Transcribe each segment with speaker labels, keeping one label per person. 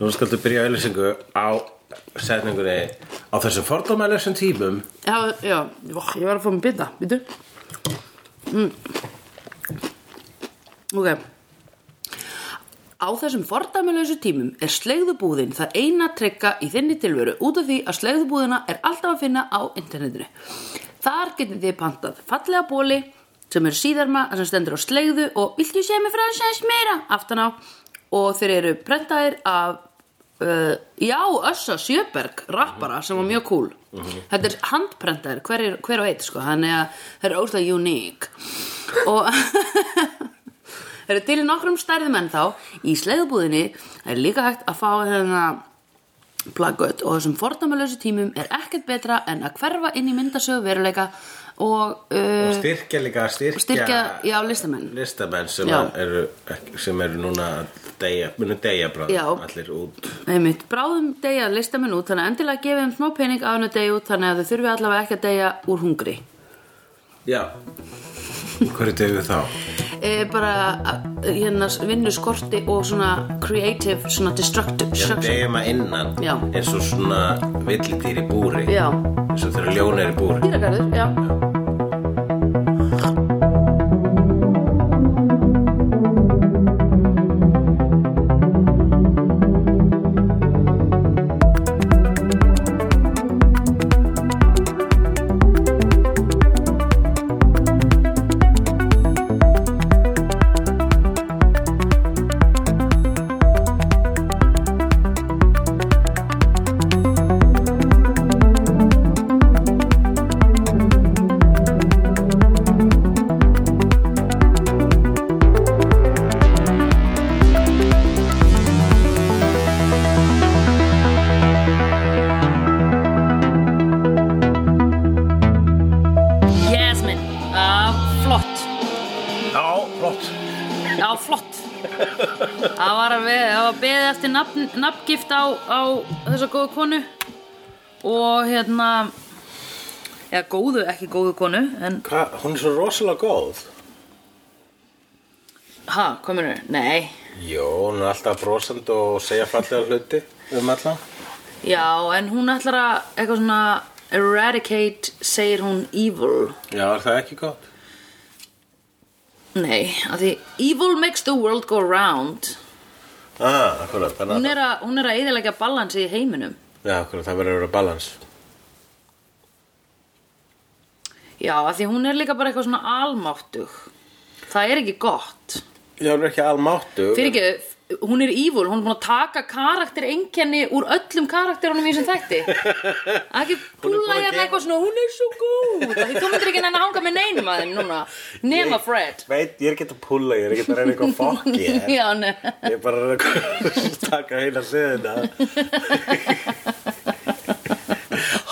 Speaker 1: Nú skaltu byrja auðlýsingu á setningunni á þessum fordómælisum tímum
Speaker 2: Já, já, Jó, ég var að fá mig bita, býtu mm. Ok Á þessum fordæmuleysu tímum er slegðubúðin það eina trygga í þinni tilveru út af því að slegðubúðina er alltaf að finna á internetinu. Þar getið þið pantað fallega bóli sem eru síðarma sem stendur á slegðu og viltu sé mig frá þess meira aftan á og þeir eru prentaðir af uh, já, Össa Sjöberg rappara sem var mjög cool. Þetta er handprentaðir, hver, er, hver og eitt sko, þannig að það er óslega uník og Það eru til í nokkrum stærðum en þá í sleiðubúðinni er líka hægt að fá þennan plaggött og þessum fordæmalösu tímum er ekkert betra en að hverfa inn í myndasögu veruleika og
Speaker 1: og
Speaker 2: uh,
Speaker 1: styrkja líka styrkja,
Speaker 2: Styrkja, já, listamenn.
Speaker 1: listamenn sem
Speaker 2: Já.
Speaker 1: eru, sem eru núna að deyja, munu deyja
Speaker 2: Já.
Speaker 1: bráðum allir út
Speaker 2: einmitt bráðum degja listamenn út þannig að endilega gefið um smá pening á hennu degi út þannig að þau þurfi allavega ekki að degja úr hungri.
Speaker 1: Já Hverju degu þá?
Speaker 2: E, bara að- hérna vinnu skorti og svona creative, svona destructive.
Speaker 1: Já, degjum að innan
Speaker 2: Já.
Speaker 1: eins og svona villidýr í búri
Speaker 2: Já.
Speaker 1: eins og þegar ljón er í búri
Speaker 2: Dýragarður, já. Yes, minn. Uh, flott.
Speaker 1: Já, flott
Speaker 2: Já, flott Það var að við, það var beðið eftir nafn, nafngift á, á þessa góðu konu og hérna eða góðu, ekki góðu konu en,
Speaker 1: Hva, Hún er svo rosalega góð
Speaker 2: ha, kominu, nei
Speaker 1: Jó, hún er alltaf brosand og segja fallega hluti um allan
Speaker 2: Já, en hún ætlar að eitthvað svona eradicate, segir hún evil
Speaker 1: Já, er það ekki gott?
Speaker 2: Nei, af því evil makes the world go round
Speaker 1: Ah, akkurat, þannig
Speaker 2: Hún
Speaker 1: að
Speaker 2: er að, hún er að eðilega balansi í heiminum
Speaker 1: Já, akkurat, það verður að vera balans
Speaker 2: Já, af því hún er líka bara eitthvað svona almáttug Það er ekki gott
Speaker 1: Já, hún er ekki almáttu
Speaker 2: fyrir ekki, hún er evil, hún er búin að taka karakter einkenni úr öllum karakterunum í þessum þætti ekki
Speaker 1: búin að
Speaker 2: púla hérna
Speaker 1: gefa-
Speaker 2: eitthvað svona, hún er svo góð af því þú myndir ekki henni að hanga með neinum að þeim núna nema Fred
Speaker 1: Veit, ég er ekki að púla, ég er ekki að reyna eitthvað fokki Ég
Speaker 2: Já, nei.
Speaker 1: ég er bara að reyna að taka heila hliðina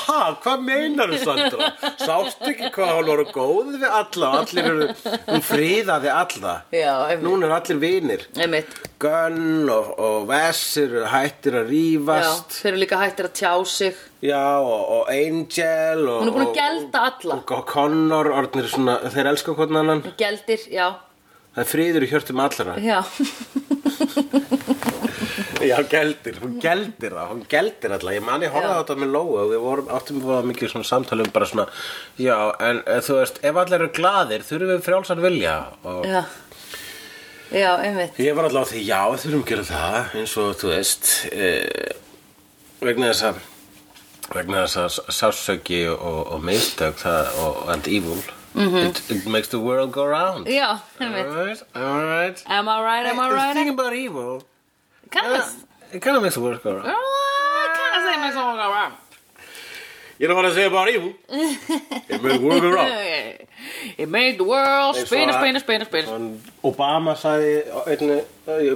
Speaker 1: Ha, hvað meinar þú, Sandra? Sástu ekki hvað hún voru góð við alla og Allir eru, hún fríðaði alla
Speaker 2: Já, einmitt.
Speaker 1: Núna eru allir vinir
Speaker 2: einmitt
Speaker 1: Gunn og, og Vessir eru hættir að
Speaker 2: Já,
Speaker 1: rífast
Speaker 2: þeir eru líka hættir að tjá sig
Speaker 1: Já, og, og Angel og,
Speaker 2: hún er búin
Speaker 1: og-
Speaker 2: að gelda alla
Speaker 1: og, og Connor, orðnir svona, þeir elska hvernig annan
Speaker 2: geldir, já,
Speaker 1: það er friður í hjörtum allra
Speaker 2: já
Speaker 1: Já, geldir, hún geldir það, hún geldir alltaf ég man ég horfði á þetta með Lóa og við vorum, áttum við mikið svona samtalum bara svona já, en eh, þú veist, ef allir eru glaðir þurfum við frjálsan vilja og
Speaker 2: já, já, einmitt
Speaker 1: ég var alltaf á því, já, við þurfum að gera það eins og, þú veist eh, vegna þess að vegna þess að sásöki og, og mistök það, og, and evil it, it makes the world go round
Speaker 2: já, einmitt
Speaker 1: Alright, alright
Speaker 2: Am I right, am I
Speaker 1: The
Speaker 2: right?
Speaker 1: thing about evil
Speaker 2: Kind of,
Speaker 1: It kind of makes the world go round
Speaker 2: kind of same as all around
Speaker 1: You know what I say about evil? It makes the world go round uh,
Speaker 2: It made the world spin, spin, spin, spin
Speaker 1: Obama sagði einu,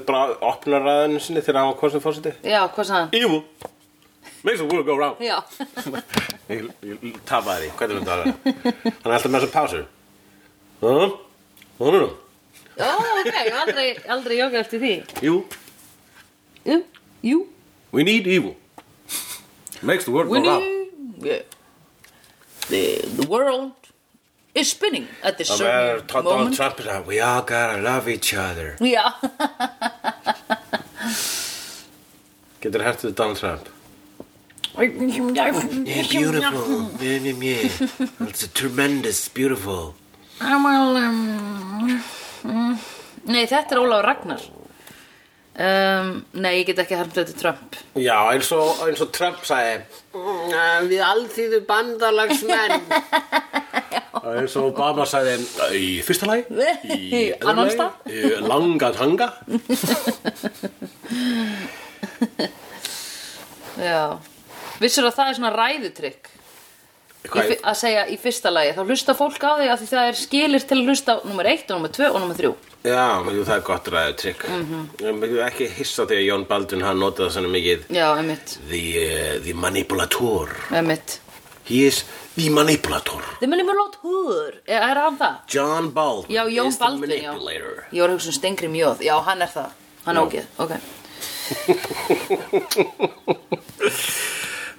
Speaker 1: bara opnar ræðinu sinni þegar hann var kostum fórseti
Speaker 2: Já, hvað sagði hann?
Speaker 1: Evil Makes the world go round
Speaker 2: Já,
Speaker 1: Ég, ég tapaði því, hvernig myndi það að vera? Hann er alltaf með þessar pásur Huh? Hún er nú
Speaker 2: Ó, ok, ég hef aldrei, aldrei jókað eftir því
Speaker 1: Evil
Speaker 2: Jú, jú
Speaker 1: We need evil Makes the world go
Speaker 2: Winnie
Speaker 1: round
Speaker 2: yeah. the, the world is spinning at this
Speaker 1: Það verður
Speaker 2: certain
Speaker 1: Donald
Speaker 2: moment
Speaker 1: Trump er að We all gotta love each other
Speaker 2: Já
Speaker 1: Getur hertið Donald Trump? Yeah,
Speaker 3: Beautiful.
Speaker 1: beautiful. Yeah, yeah, yeah. It's tremendous, beautiful.
Speaker 2: um, mm. Nei, þetta er Ólafur Ragnar um, Nei, ég get ekki harmt þetta er Trump
Speaker 1: Já, eins og, eins og Trump sagði "Mm, eh, Við allþýðu bandalagsmenn Og eins og Obama sagði Í fyrsta lagi Í öðru
Speaker 2: Annan
Speaker 1: lagi,
Speaker 2: stað."
Speaker 1: í Langa tanga
Speaker 2: Já Vissur að það er svona ræðutrykk Í
Speaker 1: Hvað
Speaker 2: fi- að segja í fyrsta lagi þá hlusta fólk á þig af því það er skilir til að hlusta á nummer 1 og nummer 2 og nummer 3
Speaker 1: Já, jú, það er gott ræðu trygg
Speaker 2: Mhm.
Speaker 1: mm -hmm. Ekki hissa því að Jón Baldvin hann notaði það svona mikið
Speaker 2: já, emitt,
Speaker 1: the, uh, the manipulator
Speaker 2: emitt
Speaker 1: He is the manipulator
Speaker 2: þeir munum er lót húður, er, er hann það?
Speaker 1: John Baldwin
Speaker 2: já, Jón
Speaker 1: is the
Speaker 2: Baldvin, já
Speaker 1: manipulator
Speaker 2: ég var að hugsa um Stengri Mjóð, já, hann er það hann
Speaker 1: Já.
Speaker 2: ágið, ok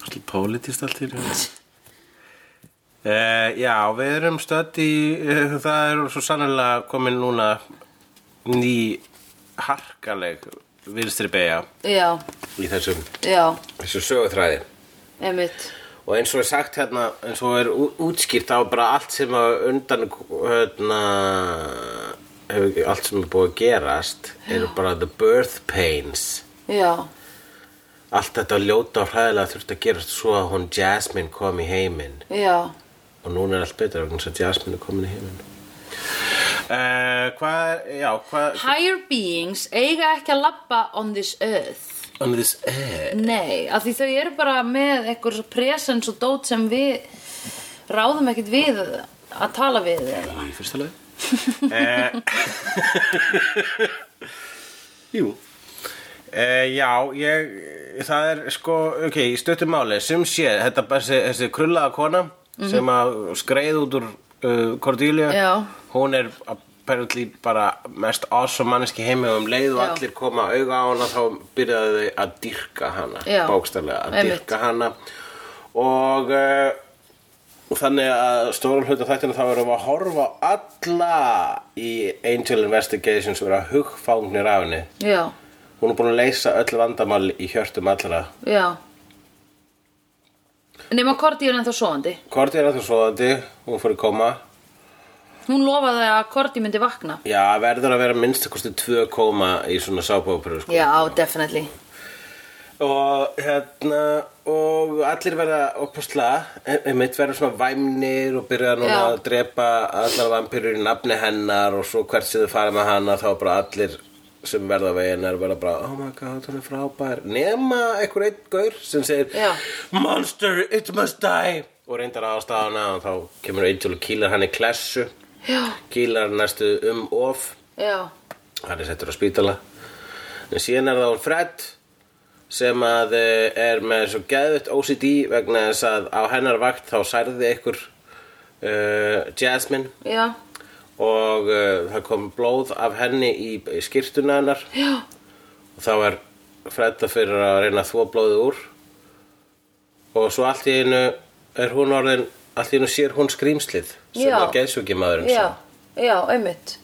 Speaker 1: Allt Politist allt hér uh, Já, við erum stödd í uh, Það er svo sannlega komin núna ný harkaleg vinstri beja
Speaker 2: já,
Speaker 1: í þessum,
Speaker 2: já,
Speaker 1: þessum sögutræði
Speaker 2: emitt
Speaker 1: og eins og er sagt hérna eins og er ú- útskýrt á bara allt sem að undan hérna, hefur- allt sem er búið að gerast eru bara the birth pains
Speaker 2: já,
Speaker 1: allt þetta ljóta og hræðilega þurfti að gerast svo að hún Jasmine kom í heiminn
Speaker 2: já
Speaker 1: Og núna er allt betra vegna þess að Jasmine er komin í heiminn. Uh, hvað, er- já, hvað...
Speaker 2: higher beings eiga ekki að labba on this earth
Speaker 1: On this earth.
Speaker 2: Nei, af því þau eru bara með eitthvað presens og dót sem við ráðum ekkert við að tala við eða.
Speaker 1: Í fyrsta leið. Eh. Jú. Uh, já, ég, það er sko, ok, í stöttum máli, sem sé, þetta þessi, þessi krullaða kona sem að skreið út úr uh, Cordelia,
Speaker 2: Mhm. Já.
Speaker 1: hún er apparently bara mest awesome manneski heimi og um leið og
Speaker 2: Já.
Speaker 1: allir koma auga á hana þá byrjaðu þau að dyrka hana,
Speaker 2: Já.
Speaker 1: bókstælega, að
Speaker 2: Einmitt.
Speaker 1: dyrka hana og uh, og þannig að stórum hluta þættina þá erum við að horfa á alla í Angel Investigations vera hugfangnir af henni
Speaker 2: Já,
Speaker 1: hún er búin að leysa öll vandamál í hjörtum allra
Speaker 2: já. Nefna Korti er ennþá svoandi.
Speaker 1: Korti er að þú svoðandi, hún fór í koma
Speaker 2: Hún lofaði að Korti myndi vakna.
Speaker 1: já, verður að vera minnst kosti tvö koma í svona sábóperu sko.
Speaker 2: Já, definitely.
Speaker 1: og hérna og allir verða opuslega einmitt verða svona væmnir og byrja núna
Speaker 2: Já.
Speaker 1: að drepa allar vampirur í nafni hennar og svo hvert sem þau fara með hana þá bara allir sem verða við hennar verða bara oh my god, hún er frábær nema einhver einn gaur sem segir
Speaker 2: Já.
Speaker 1: monster, it must die og reyndar ástæðana og þá kemur Angel og kýlar hann í klessu
Speaker 2: Já,
Speaker 1: kýlar næstu um of
Speaker 2: já,
Speaker 1: hann er settur á spítala en síðan er það hún Fred sem að eh, er með svo geðvitt OCD vegna þess að á hennar vakt þá særði ykkur uh, Jasmine
Speaker 2: já,
Speaker 1: og uh, það kom blóð af henni í, í skýrtuna hennar
Speaker 2: já,
Speaker 1: og þá er Fredda fyrir að reyna að þvo blóðið úr og svo allt í einu er hún orðin allt í einu sér hún skrýmslið sem
Speaker 2: Já.
Speaker 1: er geðsjúkimaðurinn
Speaker 2: já,
Speaker 1: sá.
Speaker 2: já, einmitt.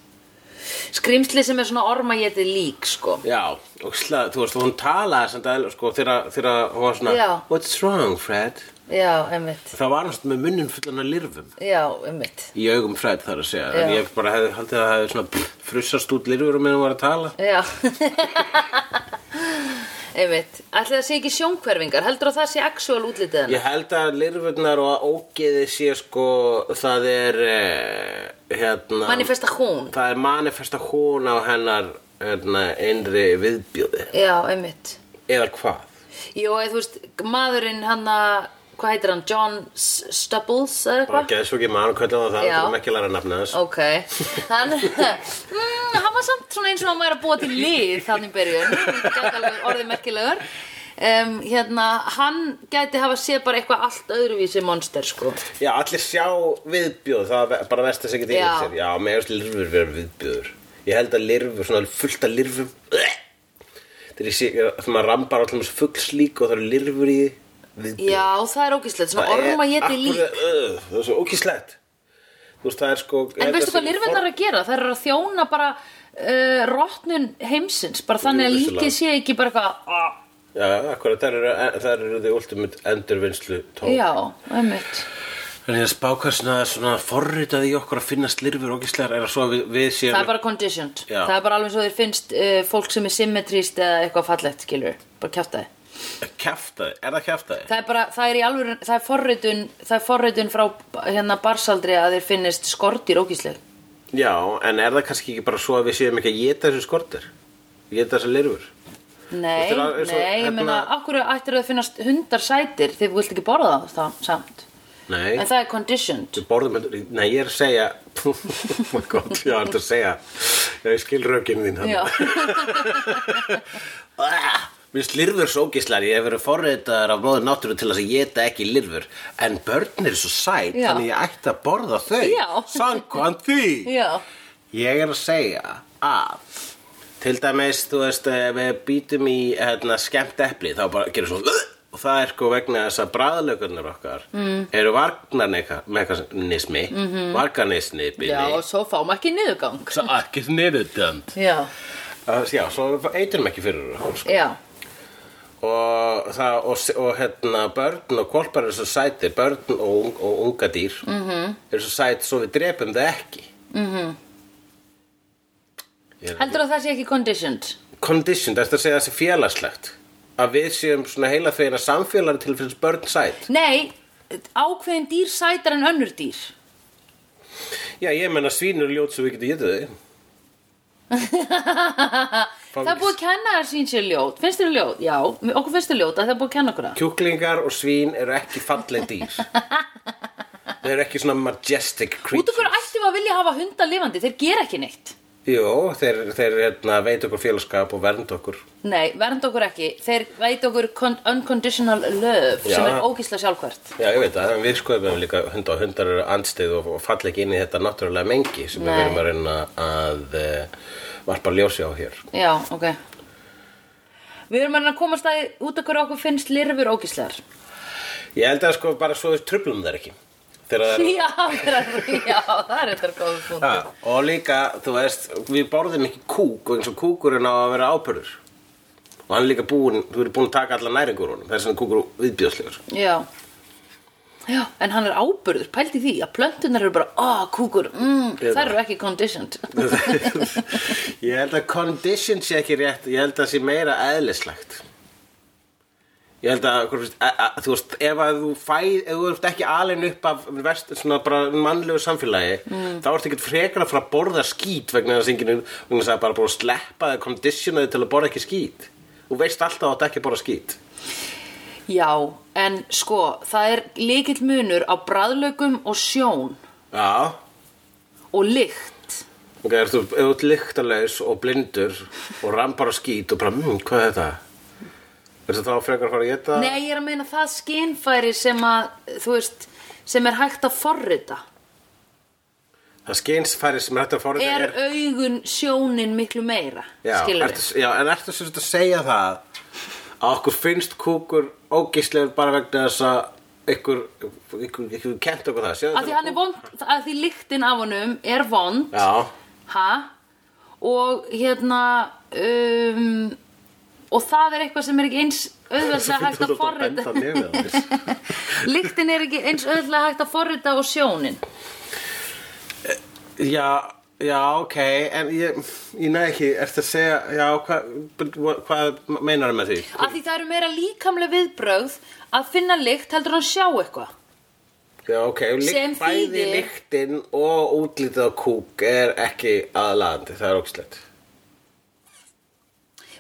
Speaker 2: Skrimsli sem er svona ormagétið lík, sko.
Speaker 1: Já, og slag, þú veist, hún talaði sem dæl, sko, þegar þegar hún var svona
Speaker 2: Já.
Speaker 1: What's wrong, Fred?
Speaker 2: Já, einmitt.
Speaker 1: Það var hann svona með munnin fullan af lirfum
Speaker 2: Já, einmitt.
Speaker 1: Í augum Fred þar að segja
Speaker 2: Já.
Speaker 1: En ég bara hefði haldið að það hefði svona pff, frussast út lirfur um en hún var að tala
Speaker 2: Já Einmitt, ætli það sé ekki sjónkverfingar heldur að það sé actual útlitið hennar
Speaker 1: Ég held að lirfurnar og ógeði sé sko, það er eh, hérna
Speaker 2: Manifesta hún
Speaker 1: Það er manifesta hún á hennar hérna, innri viðbjóði
Speaker 2: Já, einmitt
Speaker 1: Eða hvað?
Speaker 2: Jó, eða þú veist, maðurinn hann að hvað heitir hann, John S- Stubbles eða
Speaker 1: Bara
Speaker 2: eitthvað
Speaker 1: geðs og ekki mann, hvernig var það?
Speaker 2: Já.
Speaker 1: Það er ekki að læra nafna þess
Speaker 2: Ok, hann, mm, hann var samt svona eins og hann væri að búa til lið þannig byrjun, gæti alveg orðið merkilegur um, Hérna, hann gæti hafa séð bara eitthvað allt öðruvísi monster sko
Speaker 1: Já, allir sjá viðbjóð, það er bara verst að segja þetta
Speaker 2: Já.
Speaker 1: yfir sér. Já, með þess lirfur vera viðbjóður. Ég held að lirfur, svona fullt af lirfum. Þegar ég sé, þegar maður rambar allum þessu fuggslík og það eru lirfur í viðbjóð.
Speaker 2: Já, það er ógislegt, svona orma geti lík
Speaker 1: Það er svo ókíslegt. Þú veist, það er sko...
Speaker 2: En veistu hvað lirfurnar eru að gera? Þær eru að þjóna bara uh, rottnun heimsins bara þannig að
Speaker 1: Jú,
Speaker 2: líkið
Speaker 1: vissulega.
Speaker 2: sé ekki bara eitthvað "Ah,
Speaker 1: Já, akkurat, þar eru, þar eru þið ultimate endurvinnslu tól.
Speaker 2: Já, einmitt.
Speaker 1: En ég spá hversna svona forritaði í okkur að finna slirfur og gíslegar er að svo við, við séum...
Speaker 2: Það er bara conditioned.
Speaker 1: Já.
Speaker 2: Það er bara alveg svo þeir finnst uh, fólk sem er symmetrist eða eitthvað fallegt, skilur. Bara kjáta þið.
Speaker 1: Kjaftaði, er það kjaftaði?
Speaker 2: Það er bara, það er í alveg, það er forritun, það er forritun frá hérna barsaldri að þeir finnist skortir ógísleg.
Speaker 1: Já, en er það kannski ekki bara svo að við séum ekki að geta þessu skortir? Geta þessu lirfur?
Speaker 2: Nei,
Speaker 1: Þetta er- er svo-
Speaker 2: nei, ég
Speaker 1: hérna-
Speaker 2: meina, akkur ættir að finnast hundar sætir þegar þú vilt ekki borða það, það samt.
Speaker 1: Nei,
Speaker 2: En það er conditioned.
Speaker 1: við borðum heldur... Nei, ég er að segja... oh my god, já, þetta að segja... Já, ég skil rökinu þín hann.
Speaker 2: Já,
Speaker 1: Ah, Mér finnst lirfur svo ógíslar, ég hef verið forreitaðar af móður náttúru til þess að geta ekki lirfur En börn eru svo sæt,
Speaker 2: Já.
Speaker 1: þannig ég ætti að borða þau
Speaker 2: Já.
Speaker 1: Samkvæmt því
Speaker 2: já,
Speaker 1: Ég er að segja að Til dæmis, þú veist, ef við býtum í hérna, skemmt epli Þá bara gerir svo "Ugh!" Og það er sko vegna þess að bræðlökunar okkar mm. Eru vargnarnismi mm -hmm. Varganisni
Speaker 2: já, og svo fáum ekki niðurgang.
Speaker 1: Svo ekki niðurdönd
Speaker 2: Já,
Speaker 1: Já, svo eiturum ekki fyrir okkur sko
Speaker 2: já,
Speaker 1: og, það, og, og hérna, börn og kolpar eru svo sætir börn og, ung, og unga dýr -hmm. eru svo sæt svo við drepum það ekki mm -hmm.
Speaker 2: heldur að það sé ekki conditioned.
Speaker 1: condition, þetta að segja þessi félagslegt að við séum svona heila þeirra samfélagi til fyrir börn sæt
Speaker 2: Nei, ákveðin dýr sætar en önnur dýr.
Speaker 1: já, ég menna svínur ljót svo við getum getið þau
Speaker 2: Það er búið að kenna þér sín sér ljót. Finnst þér ljót? Já, okkur finnst þér ljót að það er búið að kenna okkur það.
Speaker 1: kjúklingar og svín eru ekki falleg dýr þau eru ekki svona majestic creatures
Speaker 2: Út af hverju ættum við að vilja hafa hunda lifandi, þeir gera ekki neitt.
Speaker 1: Jú, þeir, þeir hérna, veit okkur félagskap og vernd okkur
Speaker 2: Nei, vernd okkur ekki. Þeir veit okkur con- unconditional love sem
Speaker 1: Já.
Speaker 2: er ógísla sjálfhvert.
Speaker 1: Já, ég veit það, en við skoðum líka hunda og hundar eru andstæð og, og falla ekki inn í þetta náttúrulega mengi sem við
Speaker 2: Nei.
Speaker 1: verum að reyna að uh, varpa ljósi á hér.
Speaker 2: Já, ok. Við erum að reyna að komast að því út af hverju okkur finnst lirfur ógíslar.
Speaker 1: Ég held að sko bara svo við tröflum þær ekki. Þegar það er...
Speaker 2: Já, það er- já, það er þetta góð punkt.
Speaker 1: Ha, og líka, þú veist, við borðum ekki kúk og eins og kúkurinn á að vera ábyrður. Og hann er líka búinn, þú eru búin að taka alla næringur honum, þess vegna er kúkur viðbjóðslegur.
Speaker 2: Já. Já, en hann er ábyrður, pældi því að plöntunar eru bara, ah, kúkur, mm,
Speaker 1: Eða.
Speaker 2: þær eru ekki conditioned.
Speaker 1: ég held að condition sé ekki rétt ég held að sé meira eðlislegt ég held að, hvað veist, að, að þú veist ef að þú fæð, ef þú ert ekki alin upp af vest, svona bara mannlegu samfélagi þá ert ekkert frekar að fara að borða skít vegna þess að enginn vegna þess að bara búið að sleppa eða conditionaði til að borða ekki skít þú veist alltaf að þetta ekki að borða skít
Speaker 2: Já, en sko, það er líkill munur á bræðlaukum og sjón
Speaker 1: já,
Speaker 2: og lykt.
Speaker 1: ok, ef þú ef þú ert lyktalaus og blindur og rambar á skít og bara, mmm, hvað er þetta Ertu þá frekar að fara að geta
Speaker 2: Nei, ég er að meina það skinnfæri sem að, þú veist, sem er hægt að forrita.
Speaker 1: Það skeinsfæri sem er hægt að forrita
Speaker 2: Er augun sjónin miklu meira,
Speaker 1: já,
Speaker 2: skilur
Speaker 1: ertu, já, en ertu sem þetta að segja það að okkur finnst kúkur ógíslegur bara vegna þess að ykkur, ykkur, ykkur kent okkur það Sjáðu
Speaker 2: Að því hann er
Speaker 1: kúk-
Speaker 2: vond, að því lyktin af honum er vond,
Speaker 1: Já,
Speaker 2: ha? Og hérna, um, og það er eitthvað sem er ekki eins auðveldlega hægt að
Speaker 1: Þú
Speaker 2: forrita.
Speaker 1: ert að benda nefið á þér.
Speaker 2: Lyktin er ekki eins auðveldlega hægt að forrita og sjónin.
Speaker 1: Já, já, ok En ég, ég neð ekki, ertu að segja Já, hvað hva meinar með því?
Speaker 2: Af því það eru meira líkamlega viðbrögð að finna lykt heldur en að sjá eitthvað.
Speaker 1: Já, ok,
Speaker 2: Sem
Speaker 1: lík, bæði
Speaker 2: þýðir-
Speaker 1: líktinn og útlitið á kúk er ekki aðlaðandi, það er ógíslegt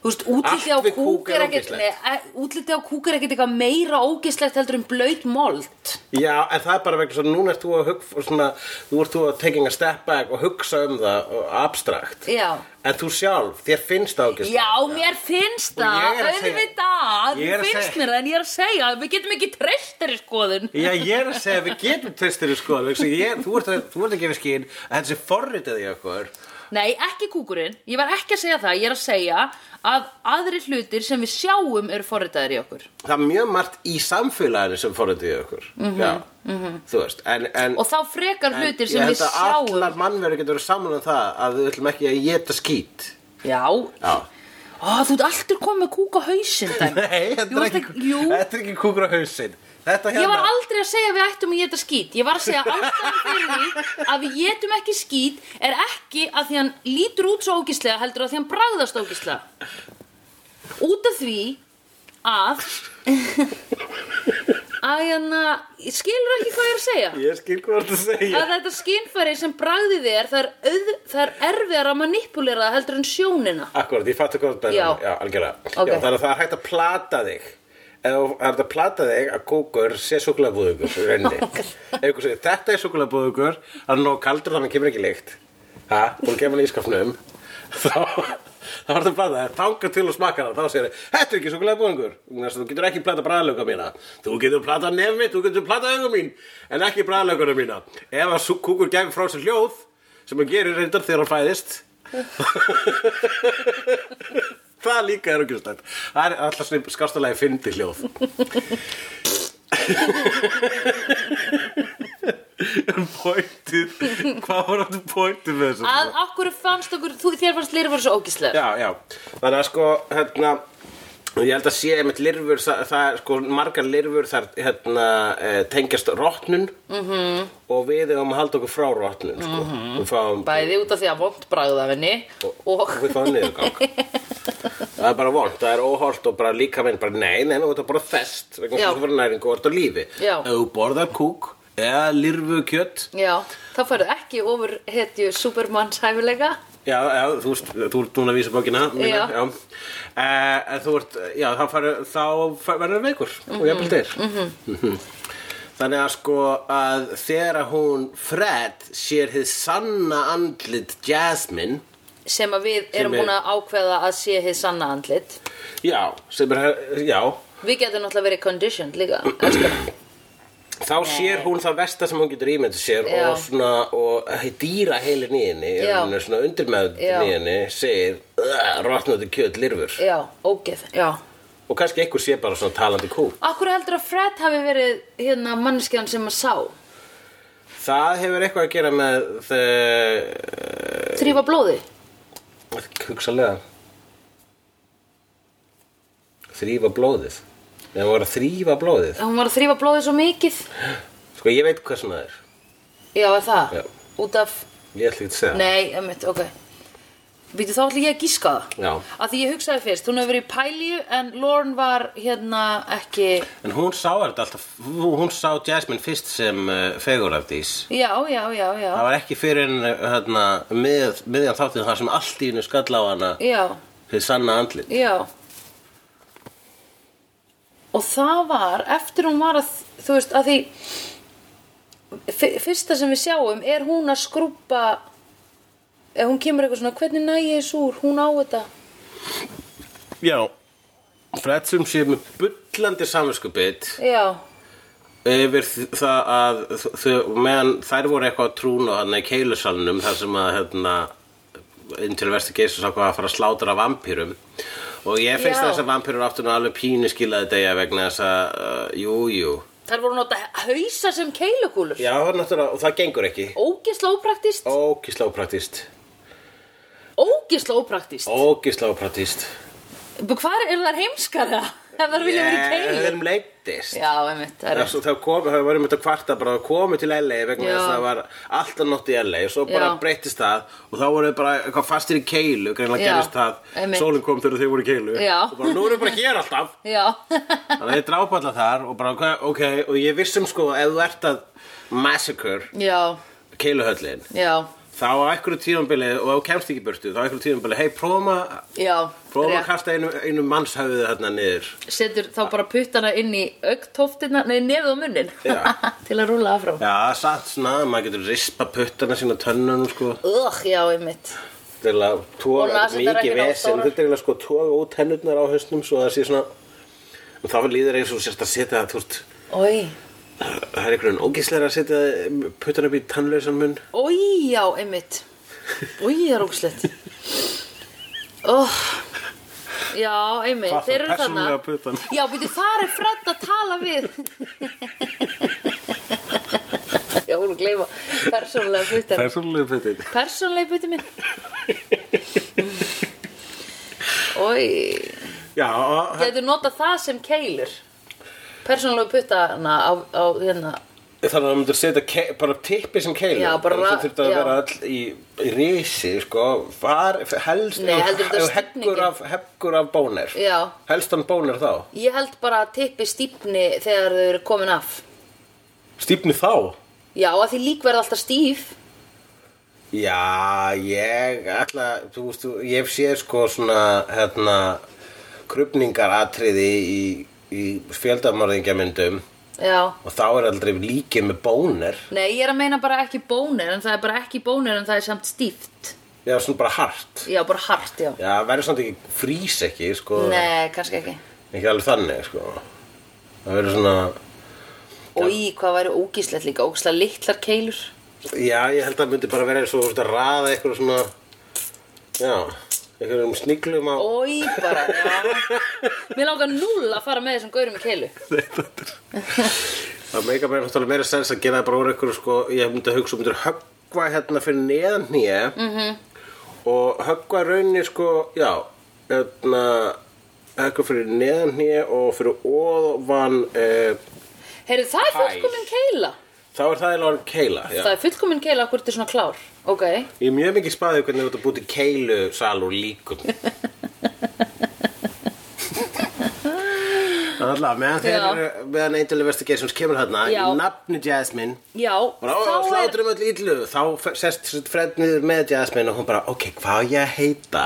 Speaker 2: Þú veist, útliti á
Speaker 1: Allt við
Speaker 2: kúk
Speaker 1: kúk
Speaker 2: er
Speaker 1: er
Speaker 2: ekkert
Speaker 1: ógeðslegt.
Speaker 2: nei, e- útliti á kúk er ekkert eitthvað meira ógislegt heldur en blaut mold.
Speaker 1: Já, en það er bara vegna svo núna ert þú að hugsa svona, þú ert þú að taking a step back og hugsa um það og abstrakt
Speaker 2: Já.
Speaker 1: En þú sjálf, þér finnst það ágæst
Speaker 2: Já, mér finnst
Speaker 1: Og ég
Speaker 2: það,
Speaker 1: er að segja-
Speaker 2: auðvitað,
Speaker 1: Ég er að
Speaker 2: finnst
Speaker 1: segja-
Speaker 2: mér það, en ég er að segja, að við getum ekki treyst þeirri skoðun.
Speaker 1: Já, ég er að segja að við getum tvistir í skoðan vegna þess að ég, þú, ert að, þú ert að gefa skýn að þetta sé forritið í okkur
Speaker 2: Nei, ekki kúkurinn, ég var ekki að segja það, ég er að segja að aðri hlutir sem við sjáum eru forritaðir í okkur.
Speaker 1: Það er mjög margt í samfélaginu sem forritið í okkur mm -hmm, Já, þú veist en, en,
Speaker 2: Mhm, Og þá frekar
Speaker 1: en
Speaker 2: hlutir
Speaker 1: ég
Speaker 2: sem
Speaker 1: held
Speaker 2: við sjáum.
Speaker 1: að allar mannveru getur verið sammála um það að við ætlum ekki að geta skýt
Speaker 2: Já,
Speaker 1: Já
Speaker 2: Ó, þú ert alltaf komið kúka hausinn dæmi.
Speaker 1: Nei, þetta
Speaker 2: Jú,
Speaker 1: er
Speaker 2: varstu
Speaker 1: ekki,
Speaker 2: Jú,
Speaker 1: þetta er ekki kúkur á hausinn. Þetta
Speaker 2: ég
Speaker 1: hérna.
Speaker 2: var aldrei að segja að við ættum að geta skít. Ég var að segja að ástæðan fyrir því að við getum ekki skít er ekki að því hann lítur út svo ógislega heldur að því hann bragðast ógislega. Út af því að að hérna skilur ekki hvað ég er að segja.
Speaker 1: Ég skil hvað þú ert að segja.
Speaker 2: að þetta skinnfæri sem bragðið er það er, auð, það er erfiðar að manipulera það heldur en sjónina
Speaker 1: Akkurat, ég fattu hvað það er.
Speaker 2: Já.
Speaker 1: um. Já, algjörlega.
Speaker 2: Ok.
Speaker 1: Já, þannig að það er hægt að plata þig. Eða þú- það er hægt að plata þig að kúkur sé súkulabúðugur, rauninni. Ef ykkur segir, þetta er súkulabúðugur, hann er nóg kaldur þannig að kemur ekki líkt. Ha, búin að kemur hann í skapnum. Þá, þá er það að plata þig, þanga til og smaka það. Þá segir þig, þetta er ekki súkulabúðugur. Þú getur ekki plata bræðlöka mína. Þú getur plata nefn mitt, þú getur plata augum mín, en ekki bræðlökunum mína. Ef að sú- kúkur gefur frá sér hljóð, sem hann gerir reyndar þegar hann fæðist, Það líka er auðvitað Það er alltaf svona skastulegi fyndi hljóð En pointið Hvað var áttu pointið með þessu?
Speaker 2: að okkur fannst okkur, þú, þér fannst lirfur svo ógislega
Speaker 1: Já, já Þannig að sko, hérna Ég held að sé einmitt lirfur, það, það er sko margar lirfur þar hérna, eh, tengjast rótnun -hmm. og við hefum að halda okkur frá rótnun sko. Við fáum
Speaker 2: bæði út af því að vond bragðið af henni og
Speaker 1: og við fáum niðurgang það er bara vond, það er óholt og bara líka minn bara nei, nei, nú er þetta bara fest vegna
Speaker 2: Já.
Speaker 1: þess að þú fyrir næringu og ert á lífi
Speaker 2: Já.
Speaker 1: ef þú borðar kúk eða lirfu kjött
Speaker 2: já, þá færðu ekki ofur hetju supermanns hæfilega
Speaker 1: já, já, þú veist, þú ert núna að vísa bókina mína,
Speaker 2: Já.
Speaker 1: já. Eh, en þú ert, já, þá, fari, þá fari, verður það veikur og jafnvel dyr Mhm. þannig að sko að þegar að hún Fred sér hið sanna andlit Jasmine
Speaker 2: sem að við erum
Speaker 1: er-
Speaker 2: búin að ákveða að sé hið sanna andlit
Speaker 1: já, sem er, já
Speaker 2: við getum náttúrulega verið conditioned líka elskan.
Speaker 1: Þá sér hún það versta sem hún getur ímyndið sér
Speaker 2: Já.
Speaker 1: og svona, og dýra heilin í henni, í
Speaker 2: Já.
Speaker 1: rauninni, svona undirmeðin
Speaker 2: Já.
Speaker 1: í henni, segir rotnandi kjöt lirfur
Speaker 2: já, ógeð, já
Speaker 1: og kannski einhver sé bara svona talandi kú.
Speaker 2: Akkur heldur að Fred hafi verið hérna manneskjan sem að sá
Speaker 1: Það hefur eitthvað að gera með eh,
Speaker 2: þrýfa blóði
Speaker 1: þau, hugsalega, þrýfa blóðið. Ef hún var að þrýfa blóðið.
Speaker 2: Hún var að þrýfa blóðið svo mikið
Speaker 1: Sko, ég veit hvað svona er.
Speaker 2: Já, er það?
Speaker 1: Já.
Speaker 2: Út af,
Speaker 1: Ég ætla ekki að segja.
Speaker 2: nei, emmitt, ok Býtu, þá ætla ég að gíska það
Speaker 1: Já.
Speaker 2: Af því ég hugsaði fyrst, hún hefur verið í pælíu En Lauren var hérna ekki
Speaker 1: En hún sá þetta alltaf, hún sá Jasmine fyrst sem uh, feguravdís.
Speaker 2: Já, já, já, já
Speaker 1: Það var ekki fyrir en hérna, mið, miðjan þáttið þar sem allt í hennu skall á hana
Speaker 2: Já,
Speaker 1: fyrir sanna andlit.
Speaker 2: já Og það var, eftir hún var að Þú veist, af því fyr- Fyrsta sem við sjáum er hún að skrúpa Ef hún kemur eitthvað svona Hvernig næ ég þessu úr, hún á þetta
Speaker 1: Já. Fred sem sé með bullandi samvinskupið
Speaker 2: Já,
Speaker 1: yfir þ- það að þ- þau, meðan þær voru eitthvað að trúna hann í keilusalunum þar sem að hérna, inn til versti geisur sá hvað að fara að slátra vampýrum og ég finnst
Speaker 2: Já.
Speaker 1: þess að vampýrur áttu nú alveg pínu skilaði degja vegna þess að, uh, jú, jú.
Speaker 2: Þar voru nota hausa sem keilukúlur
Speaker 1: Já, það er náttúrulega, og það gengur ekki.
Speaker 2: Ógisla ópraktist
Speaker 1: Ógisla ópraktist.
Speaker 2: Ógisla ópraktist
Speaker 1: Ógisla ópraktist.
Speaker 2: Hvar eru þær heimskara? Ef þær vilja vera í
Speaker 1: Við
Speaker 2: keilu
Speaker 1: erum leittist
Speaker 2: Já, einmitt, það er rétt.
Speaker 1: Það kom, það var um þetta kvarta bara komið til LA vegna
Speaker 2: Já.
Speaker 1: þess að það var alltaf nótt í LA svo bara
Speaker 2: Já.
Speaker 1: breyttist það og þá voru þau bara eitthvað fastir í keilu greinlega
Speaker 2: Já,
Speaker 1: gerist það
Speaker 2: einmitt.
Speaker 1: sólinn kom þegar þau voru í keilu
Speaker 2: Já.
Speaker 1: og bara nú erum við bara hér alltaf
Speaker 2: Já,
Speaker 1: þannig að þau drápa alltaf þar og bara ok, ok og ég vissum sko ef þú ert að massacre
Speaker 2: já,
Speaker 1: keiluhöllin
Speaker 2: já,
Speaker 1: þá á einhverju tíðanbili og ef þú kemst ekki í burtu þá á einhverju tíðanbili hei, prófum að
Speaker 2: já
Speaker 1: prófum að
Speaker 2: rétt.
Speaker 1: kasta einu, einu mannshöfuðu hérna niður
Speaker 2: Setur þá bara puttana inn í augtóftina Nei, nefið á munnin
Speaker 1: Já.
Speaker 2: Til að rúla áfram
Speaker 1: Já, það er satt svona, maður getur rispa puttana sína á tönnunum sko
Speaker 2: Ugh, já, einmitt
Speaker 1: til að toga
Speaker 2: Og nasirnar
Speaker 1: mikið
Speaker 2: ekki nógu
Speaker 1: vesen,
Speaker 2: stórar.
Speaker 1: þetta er eiginlega sko toga út tennurnar á hausnum svo það sé svona og þá líður eins og sérst að setja það, þú veist
Speaker 2: Ói,
Speaker 1: það er einhvern veginn ógíslega að setja puttana upp í tannlausan munn
Speaker 2: ói, já, einmitt Ói, það er ógislegt Oh Já, einmitt,
Speaker 1: Hvað þá,
Speaker 2: þeir eru
Speaker 1: persónulega
Speaker 2: þannig
Speaker 1: puttan?
Speaker 2: Já, býtu, þar er Fred að tala við Já, hún er að gleyma Persónulega putan
Speaker 1: Persónulega puttin
Speaker 2: Persónulega putin minn Oi,
Speaker 1: Já, og-
Speaker 2: getur notað það sem keilur Persónulegu puttana á, á hérna
Speaker 1: þannig að það myndir setja ke- bara tippi sem keilu
Speaker 2: Já, bara-
Speaker 1: Þú þurft að
Speaker 2: já.
Speaker 1: vera all í, í risi, sko Var, helst
Speaker 2: Nei, heldur þetta
Speaker 1: ef heggur
Speaker 2: stífningin?
Speaker 1: af, heggur af bónir
Speaker 2: Já.
Speaker 1: Helst hann bónir þá
Speaker 2: Ég held bara að tippi stífni þegar þau eru komin af
Speaker 1: Stífni þá?
Speaker 2: Já, að því lík verða alltaf stíf
Speaker 1: Já, ég ætla, þú veist, þú- ég hef séð sko svona, hérna, krupningaratriði í, í fjöldamorðingjamyndum
Speaker 2: Já
Speaker 1: og þá er aldrei líkið með bónir
Speaker 2: Nei, ég er að meina bara ekki bónir En það er bara ekki bónir en það er samt stíft
Speaker 1: Já, svona bara hart
Speaker 2: Já, bara hart, já
Speaker 1: Já, verður samt ekki, frýs ekki, sko
Speaker 2: Nei, kannski ekki
Speaker 1: Ekki alveg þannig, sko Það verður svona,
Speaker 2: Og í hvað væri ógíslegt líka Ógíslega litlar keilur
Speaker 1: já, ég held að myndi bara vera eins og þú veist, að raða eitthvað svona Já, eitthvað um sniglum á
Speaker 2: Ói, bara, já Mér langar núl að fara með þessum gaurum í keilu
Speaker 1: Það meika mér náttúrulega meira sens að gera það bara úr ykkur sko, ég myndi að hugsa, myndir höggva hérna fyrir neðan hnýja
Speaker 2: Mhm.
Speaker 1: -hmm. og höggva rauninni sko, já, hérna, höggva fyrir neðan hnýja og fyrir ofan, e,
Speaker 2: Heyrðu, það er
Speaker 1: Hæ.
Speaker 2: fullkomin keila
Speaker 1: þá er það eiginlega orðin keila, já.
Speaker 2: Það er fullkomin keila okkur til svona klár Ok
Speaker 1: Ég er mjög mikið spáðið hvernig þú ert að búti keilu sal úr líkum. Alltaf, meðan þeir
Speaker 2: Já.
Speaker 1: eru, meðan eitthvað verðst að gera sem kemur hérna, í
Speaker 2: Já.
Speaker 1: nafni Jasmine,
Speaker 2: Já,
Speaker 1: Og þá
Speaker 2: þá er
Speaker 1: sláturum öll illu Þá f- sest Fred niður með Jasmine og hún bara, ok, hvað á ég að heita?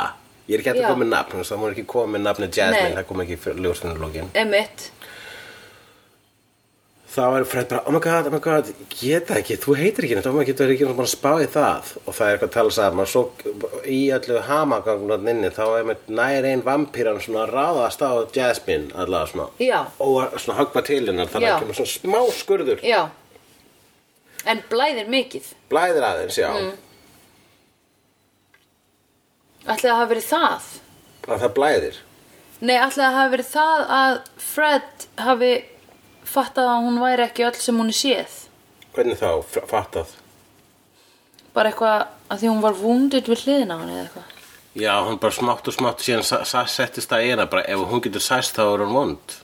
Speaker 1: Ég er ekki hægt
Speaker 2: Já.
Speaker 1: að koma með nafn, þá hún er ekki komið með nafni Jasmine,
Speaker 2: Nei.
Speaker 1: það kom ekki ljósinu lókin
Speaker 2: Emmett
Speaker 1: Þá er Fred bara, oh my god, oh my god, geta ekki, þú heitir ekki neitt, oh my god, þú er ekki neitt bara að spá í það og það er eitthvað að tala saman, svo í öllu hamagangunum inni, þá er með nær einn vampíran svona að ráðast á Jasmine, allavega svona
Speaker 2: Já.
Speaker 1: og að- svona höggva til hennar, þannig
Speaker 2: Já.
Speaker 1: að kemur svona smá skurður,
Speaker 2: Já En blæðir mikið
Speaker 1: blæðir aðeins, já
Speaker 2: Mm. Ætli það hafi verið það
Speaker 1: að það blæðir
Speaker 2: Nei, ætli það hafi verið það að Fred hafi fattað að hún væri ekki öll sem hún er séð
Speaker 1: Hvernig þá f- fattað?
Speaker 2: Bara eitthvað að því hún var vundið við hliðina á henni eða eitthvað
Speaker 1: Já, hún bara smátt og smátt síðan sa- sa- settist það í hana bara ef hún getur sæst þá er hún vond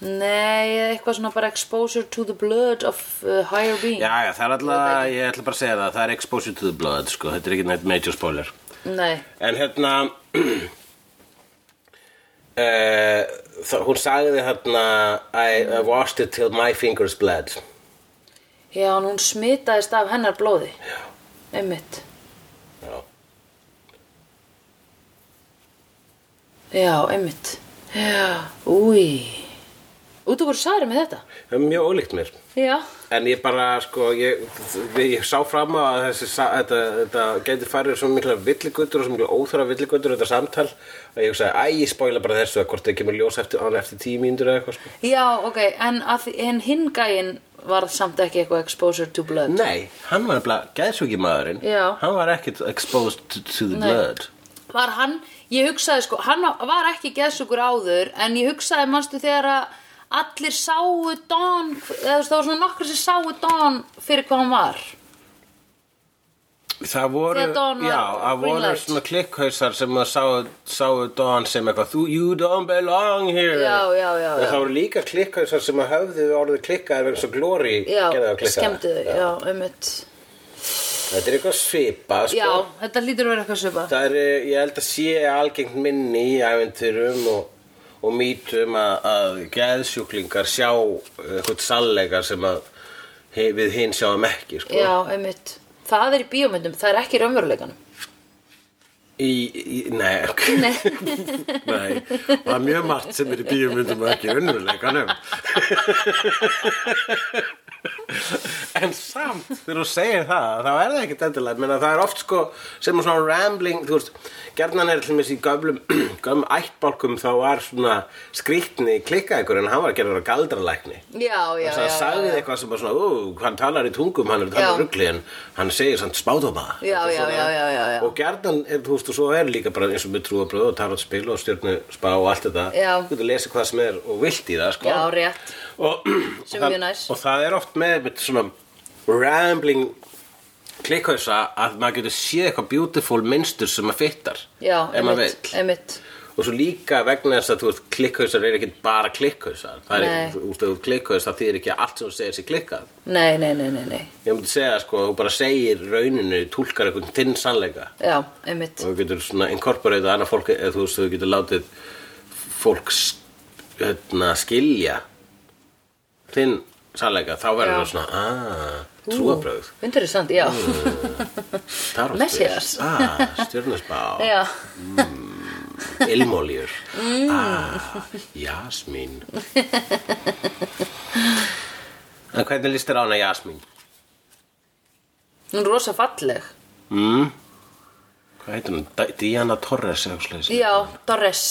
Speaker 2: Nei, eða eitthvað svona bara exposure to the blood of uh, higher being
Speaker 1: Já, já, það er alltaf, ég ætla bara að segja það það er exposure to the blood, sko, þetta er ekki neitt major spoiler
Speaker 2: Nei,
Speaker 1: En hérna uh, það, hún sagði hérna I, I washed it till my fingers bled
Speaker 2: já, en hún smitaðist af hennar blóði Já Einmitt
Speaker 1: Já,
Speaker 2: Já, einmitt Já, úi Út og voru særi með þetta
Speaker 1: það er mjög ólíkt mér
Speaker 2: Já,
Speaker 1: En ég bara, sko, ég, ég sá fram á að þessi, sa- þetta, þetta getur farið svo mikla villigutur og svo mikla óþara villigutur þetta samtal að ég hugsaði, æ, ég spoila bara þessu að hvort það kemur ljós eftir, án eftir tíu mínútur eða eitthvað, sko.
Speaker 2: já, ok, en, að því- en hinn gæinn var samt ekki eitthvað exposure to blood
Speaker 1: Nei, hann var nefnilega geðsviki maðurinn.
Speaker 2: Já.
Speaker 1: Hann var ekkit exposed to, to the
Speaker 2: Nei.
Speaker 1: blood.
Speaker 2: Var hann, ég hugsaði sko, hann var ekki geðsugur áður en ég hugsaði, manstu þegar að allir sáu Don, eða þú veist, það var svona nokkur sem sáu Don fyrir hvað hann var.
Speaker 1: Það voru,
Speaker 2: Þegar Dawn var
Speaker 1: já, það
Speaker 2: green
Speaker 1: voru
Speaker 2: light.
Speaker 1: svona klikkhausar sem að sáu, sáu Dawn sem eitthvað, "Þú- you don't belong here.
Speaker 2: Já, já, já,
Speaker 1: En
Speaker 2: já.
Speaker 1: það voru líka klikkhausar sem að höfðu orðið klikkaðir vegna svo glóri
Speaker 2: Já, skemmtu þau, já, einmitt.
Speaker 1: Sko. Þetta er eitthvað svipa, sko.
Speaker 2: Já, þetta lítur að vera eitthvað svipað.
Speaker 1: Það er, eh, ég held að sé algengt minni í æventurum og, og mýtum að, að geðsjúklingar sjá eh, eitthvað sannleikar sem að he- við hinn sjáum ekki, sko.
Speaker 2: Já, einmitt. Það er í bíómyndum, það er ekki í raunveruleikanum.
Speaker 1: Í, í, nei, ok. Nei. það er mjög margt sem er í bíumundum og ekki unnuleikanum. en samt, þegar þú segir það, þá er það ekkert endilega. Menna, það er oft sko, sem svona rambling, þú veist, gerðan er til mér í gömlum, gömlum ættbálkum þá var svona skrýtni klikkað ykkur en hann var að gera það galdralækni.
Speaker 2: Já, já,
Speaker 1: Þess
Speaker 2: já.
Speaker 1: að sagði
Speaker 2: já, já.
Speaker 1: eitthvað sem var svona, ú, hann talar í tungum, hann er að tala
Speaker 2: Já.
Speaker 1: ruggli en hann segir samt spátóma.
Speaker 2: Já,
Speaker 1: Eitthvað
Speaker 2: já,
Speaker 1: svona.
Speaker 2: já, já, já, já.
Speaker 1: Og gerðan, þú veist, og svo er líka bara eins og með trúabröð og tarot spil og stjörnu spá og allt þetta.
Speaker 2: Já.
Speaker 1: Þú getur lesið hvað sem er og vilt í það, sko.
Speaker 2: Já, rétt.
Speaker 1: Og,
Speaker 2: Sem
Speaker 1: og það-
Speaker 2: mjög næs.
Speaker 1: Og það er oft með, með svona rambling klikkhausa að maður getur séð eitthvað beautiful minnstur sem maður fittar.
Speaker 2: Já,
Speaker 1: ef maður
Speaker 2: einmitt,
Speaker 1: vill.
Speaker 2: einmitt.
Speaker 1: og svo líka vegna þess að þú veist klikkhausar er ekki bara klikkhausar það
Speaker 2: Nei.
Speaker 1: er, þú veist, ef þú ert klikkhaus það þýðir ekki að allt sem þú segir sér klikkað
Speaker 2: Nei, nei, nei, nei, nei.
Speaker 1: ég myndi segja sko, þú bara segir rauninu túlkar einhvern þinn sannleika
Speaker 2: Já, einmitt.
Speaker 1: og þú getur svona inkorporeita annað fólk eða þú veist, þú getur látið fólk s- hérna, skilja þinn sannleika, þá verður
Speaker 2: Já.
Speaker 1: það svona "Ah, aaa, trúabröð
Speaker 2: Interessant, já.
Speaker 1: Tarotspil.
Speaker 2: Messías.
Speaker 1: ah, stjörnusbá
Speaker 2: já.
Speaker 1: Ilmoljur mm. ah, Jasmín En hvernig líst þér á hana Jasmín?
Speaker 2: Hún er rosa falleg.
Speaker 1: Mm. Hvað heitir hún? D- Diana Torres eða eitthvað svoleiðis?
Speaker 2: Já, Doris.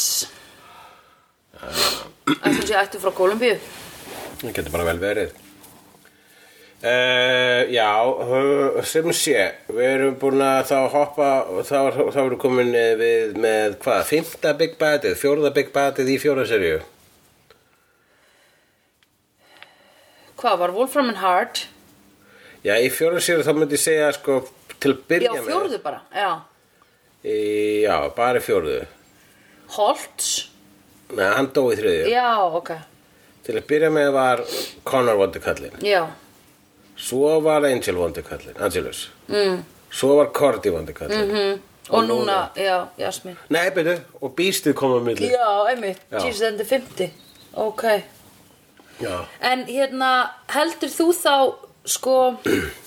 Speaker 2: Ætlum sé ættu frá Kolumbíu.
Speaker 1: Það getur bara vel verið Uh, já, uh, sem sé, við erum búin að þá hoppa, þá, þá erum komin eh, við með hvað, fymta Big Badið, fjórða Big Badið í fjóra serju.
Speaker 2: Hvað var Wolfram and Hard?
Speaker 1: Já, í fjóra serju þá myndi ég segja sko til að
Speaker 2: Já,
Speaker 1: byrja með.
Speaker 2: fjórðu bara. Já.
Speaker 1: Í- Já, bara í fjórðu.
Speaker 2: Holtz.
Speaker 1: Nei, hann dói þriðju.
Speaker 2: Já, ok.
Speaker 1: Til að byrja með var Connor vondukallin.
Speaker 2: Já.
Speaker 1: Svo var Angel vondukallin, Angelus.
Speaker 2: Mm. Mhm.
Speaker 1: Svo var Cordy vondukallin. Mm -hmm.
Speaker 2: Og núna, já, Jasmín.
Speaker 1: Nei, byrju, og býstið kom á milli.
Speaker 2: Já, einmitt.
Speaker 1: Já.
Speaker 2: Jesus and the 50. Ok.
Speaker 1: Já.
Speaker 2: En hérna, heldur þú þá, sko,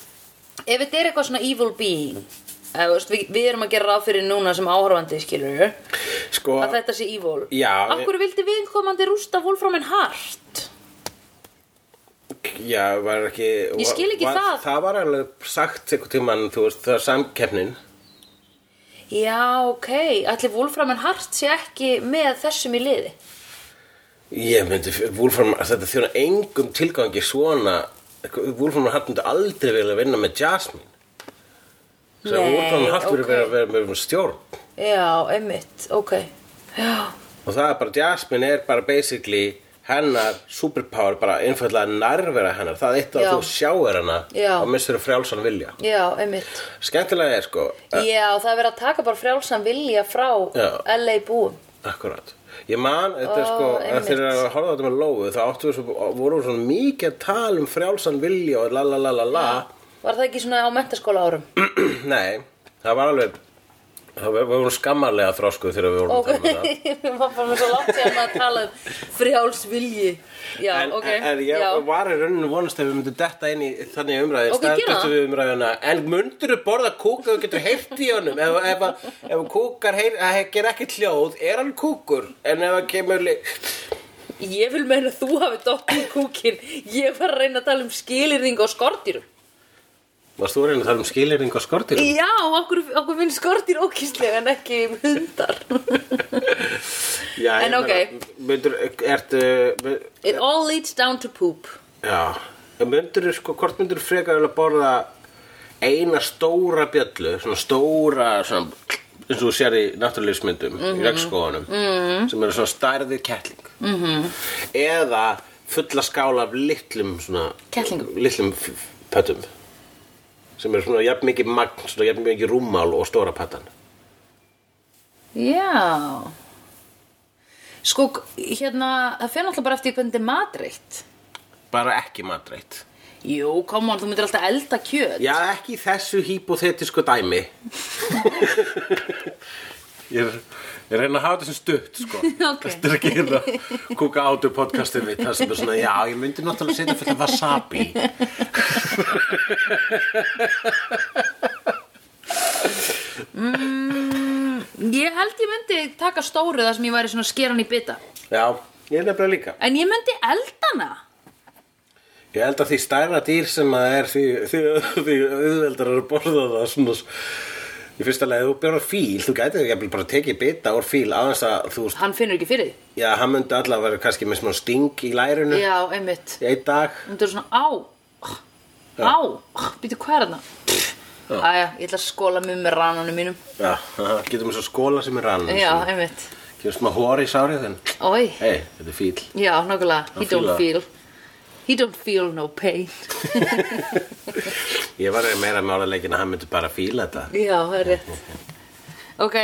Speaker 2: ef þetta er eitthvað svona evil being, eða, þú veist, við, við erum að gera ráð fyrir núna sem áhorfandi, skilur
Speaker 1: Sko,
Speaker 2: að þetta sé evil.
Speaker 1: Já,
Speaker 2: Af hverju vildi viðkomandi rústa Wolfram en Hart?
Speaker 1: já, var ekki...
Speaker 2: Ég skil ekki
Speaker 1: var,
Speaker 2: það.
Speaker 1: Það var alveg sagt einhvern tímann, þú veist, það var samkeppnin.
Speaker 2: Já, ok. Ætli Wolfram en Hart sé ekki með þessum í liði.
Speaker 1: Ég myndi, Wolfram, þetta þjóna engum tilgangi svona. Wolfram og Hart myndi aldrei vilja vinna með Jasmine. Svo
Speaker 2: Nei,
Speaker 1: Wolfram og Hart okay.
Speaker 2: ok.
Speaker 1: verið að vera með stjórn.
Speaker 2: Já, einmitt. Ok. Já.
Speaker 1: og það er bara, Jasmine er bara basically hennar superpower bara einfallega nærvera hennar það er eitt að
Speaker 2: Já.
Speaker 1: þú sjáir hana
Speaker 2: Já.
Speaker 1: og missur frjálsan vilja
Speaker 2: Já, einmitt.
Speaker 1: skemmtilega er sko,
Speaker 2: Já, það er verið að taka bara frjálsan vilja frá
Speaker 1: Já.
Speaker 2: LA búum.
Speaker 1: akkurat ég man, þetta er
Speaker 2: Ó,
Speaker 1: sko,
Speaker 2: einmitt.
Speaker 1: að þeir eru að horfa á þetta með lóðu þá áttu við svo, voru svo mikið að tala um frjálsan vilja og la la la la la
Speaker 2: Var það ekki svona á mentaskóla árum?
Speaker 1: nei, það var alveg það var- við vorum skammarlega þroskuð þegar við vorum
Speaker 2: Ok,
Speaker 1: að tala um þetta
Speaker 2: við varum bara svo langt sem að tala um frjáls vilji. Já,
Speaker 1: En,
Speaker 2: ok.
Speaker 1: en, en ég
Speaker 2: já.
Speaker 1: var í rauninu vonast ef við myndum detta inn í þannig umræði
Speaker 2: Ok, gera það.
Speaker 1: við umræðina En mundur þú borða kúk ef þú getur heyrt í honum Ef, ef, ef, ef kúkar heyr, að he- ger ekki hljóð, er hann kúkur En ef hann kemur líkt
Speaker 2: Ég vil meina að þú hafi dottið í kúkin. Ég var að reyna að tala um skilirðing og skordýrum.
Speaker 1: Varst þú að reyna að tala um skilirning og skortir?
Speaker 2: Já, okkur, okkur finn skordýr ókýrslega en ekki hundar.
Speaker 1: Já, ég
Speaker 2: en ok.
Speaker 1: meina, Mundur, ertu mun-
Speaker 2: It all leads down to poop.
Speaker 1: Já, mundur þú sko, hvort mundur þú frekar vel að borða eina stóra bjöllu, svona stóra, svona, eins og þú sér í náttúrulegismyndum,
Speaker 2: Mhm.
Speaker 1: í regnskóðanum, sem eru svona stærðir kettling.
Speaker 2: Mhm.
Speaker 1: -hmm. Eða fulla skála af litlum svona...
Speaker 2: Kettlingum.
Speaker 1: Litlum f- f- pöttum, sem eru svona jafn mikið magn, svona jafn mikið rúmmál og stóra pöttan.
Speaker 2: Já. Sko, hérna, það fyrir náttúrulega bara eftir hvernig þetta er matreitt.
Speaker 1: Bara ekki matreitt.
Speaker 2: Jú, come on, þú myndir alltaf elda kjöt.
Speaker 1: Já, ekki í þessu hypothetisku dæmi. ég, er, ég reyna að hafa þetta sem stutt, sko.
Speaker 2: Ok.
Speaker 1: Þetta er ekki hérna kúka átu podcastið mitt, það sem er svona, já, ég myndi náttúrulega setja fullt af wasabi.
Speaker 2: Mm, Ég held ég myndi taka stóru þar sem ég væri svona að skera hann í bita.
Speaker 1: Já, ég er nefnilega líka.
Speaker 2: En ég myndi elda hana.
Speaker 1: Ég held að því stærra dýr sem að er því, því, því auðveldar að borða það svona í fyrsta leið, þú björða fíl, þú gætið ekki bara tekið bita úr fíl aðeins að þú, veist,
Speaker 2: Hann finnur ekki fyrir því.
Speaker 1: já, hann myndi allavega vera kannski með smá sting í lærinu
Speaker 2: Já, einmitt.
Speaker 1: í einn dag.
Speaker 2: Myndi vera svona á. Á. Býtu hvað er þarna? Æja, ég ætla að skóla mig með ránunum mínum.
Speaker 1: Já, aha, getum við svo skóla sem er rann
Speaker 2: Já, einmitt.
Speaker 1: Getum smá hóri í sárið þinn
Speaker 2: Ói.
Speaker 1: Hei, þetta er fíl
Speaker 2: Já, nokkulega. He don't
Speaker 1: fílar.
Speaker 2: feel. He don't feel no pain.
Speaker 1: Ég var meira með áleikin að hann myndi bara fíla þetta
Speaker 2: Já, það er rétt. Ok.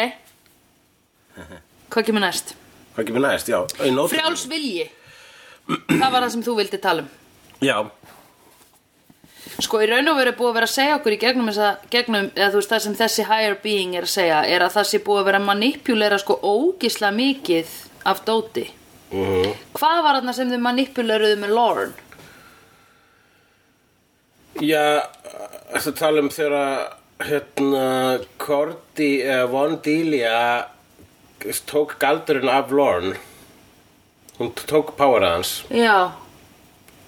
Speaker 2: Hvað kemur næst?
Speaker 1: Hvað kemur næst, já í nótum.
Speaker 2: Frjáls vilji Það var það sem þú vildi tala um
Speaker 1: Já,
Speaker 2: Sko í raun og veru er búið að vera að segja okkur í gegnum, þessa, gegnum eða þú veist það sem þessi higher being er að segja er að það sé búið að vera að manipulera sko ógisla mikið af dóti
Speaker 1: Mhm.
Speaker 2: Hvað var þarna sem þau manipuleruðu með Lauren?
Speaker 1: já Þetta tala um þegar að hérna, Korti eða Von Delia tók galdurinn af Lorne hún tók power hans
Speaker 2: Já,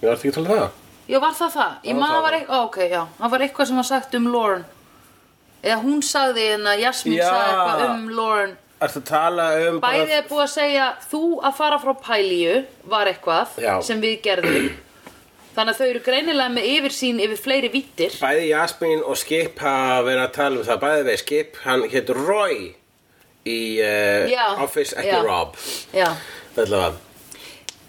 Speaker 1: Ég var ekki að tala um það
Speaker 2: já var það það? Ég
Speaker 1: Það var
Speaker 2: maður
Speaker 1: það.
Speaker 2: var eitthvað, ok, já, það var eitthvað sem var sagt um Lauren Eða hún sagði hérna, Jasmine
Speaker 1: Já.
Speaker 2: sagði eitthvað um Lauren
Speaker 1: Ertu að tala um bara-
Speaker 2: Bæði er búið að segja þú að fara frá pælíu var eitthvað
Speaker 1: Já.
Speaker 2: sem við gerðum Þannig að þau eru greinilega með yfirsýn yfir fleiri vittir
Speaker 1: Bæði Jasmín og Skip hafa verið að tala um það Bæði við Skip, hann hétt Roy í uh,
Speaker 2: Já,
Speaker 1: Office, ekki
Speaker 2: já.
Speaker 1: Rob
Speaker 2: Já,
Speaker 1: Allavega.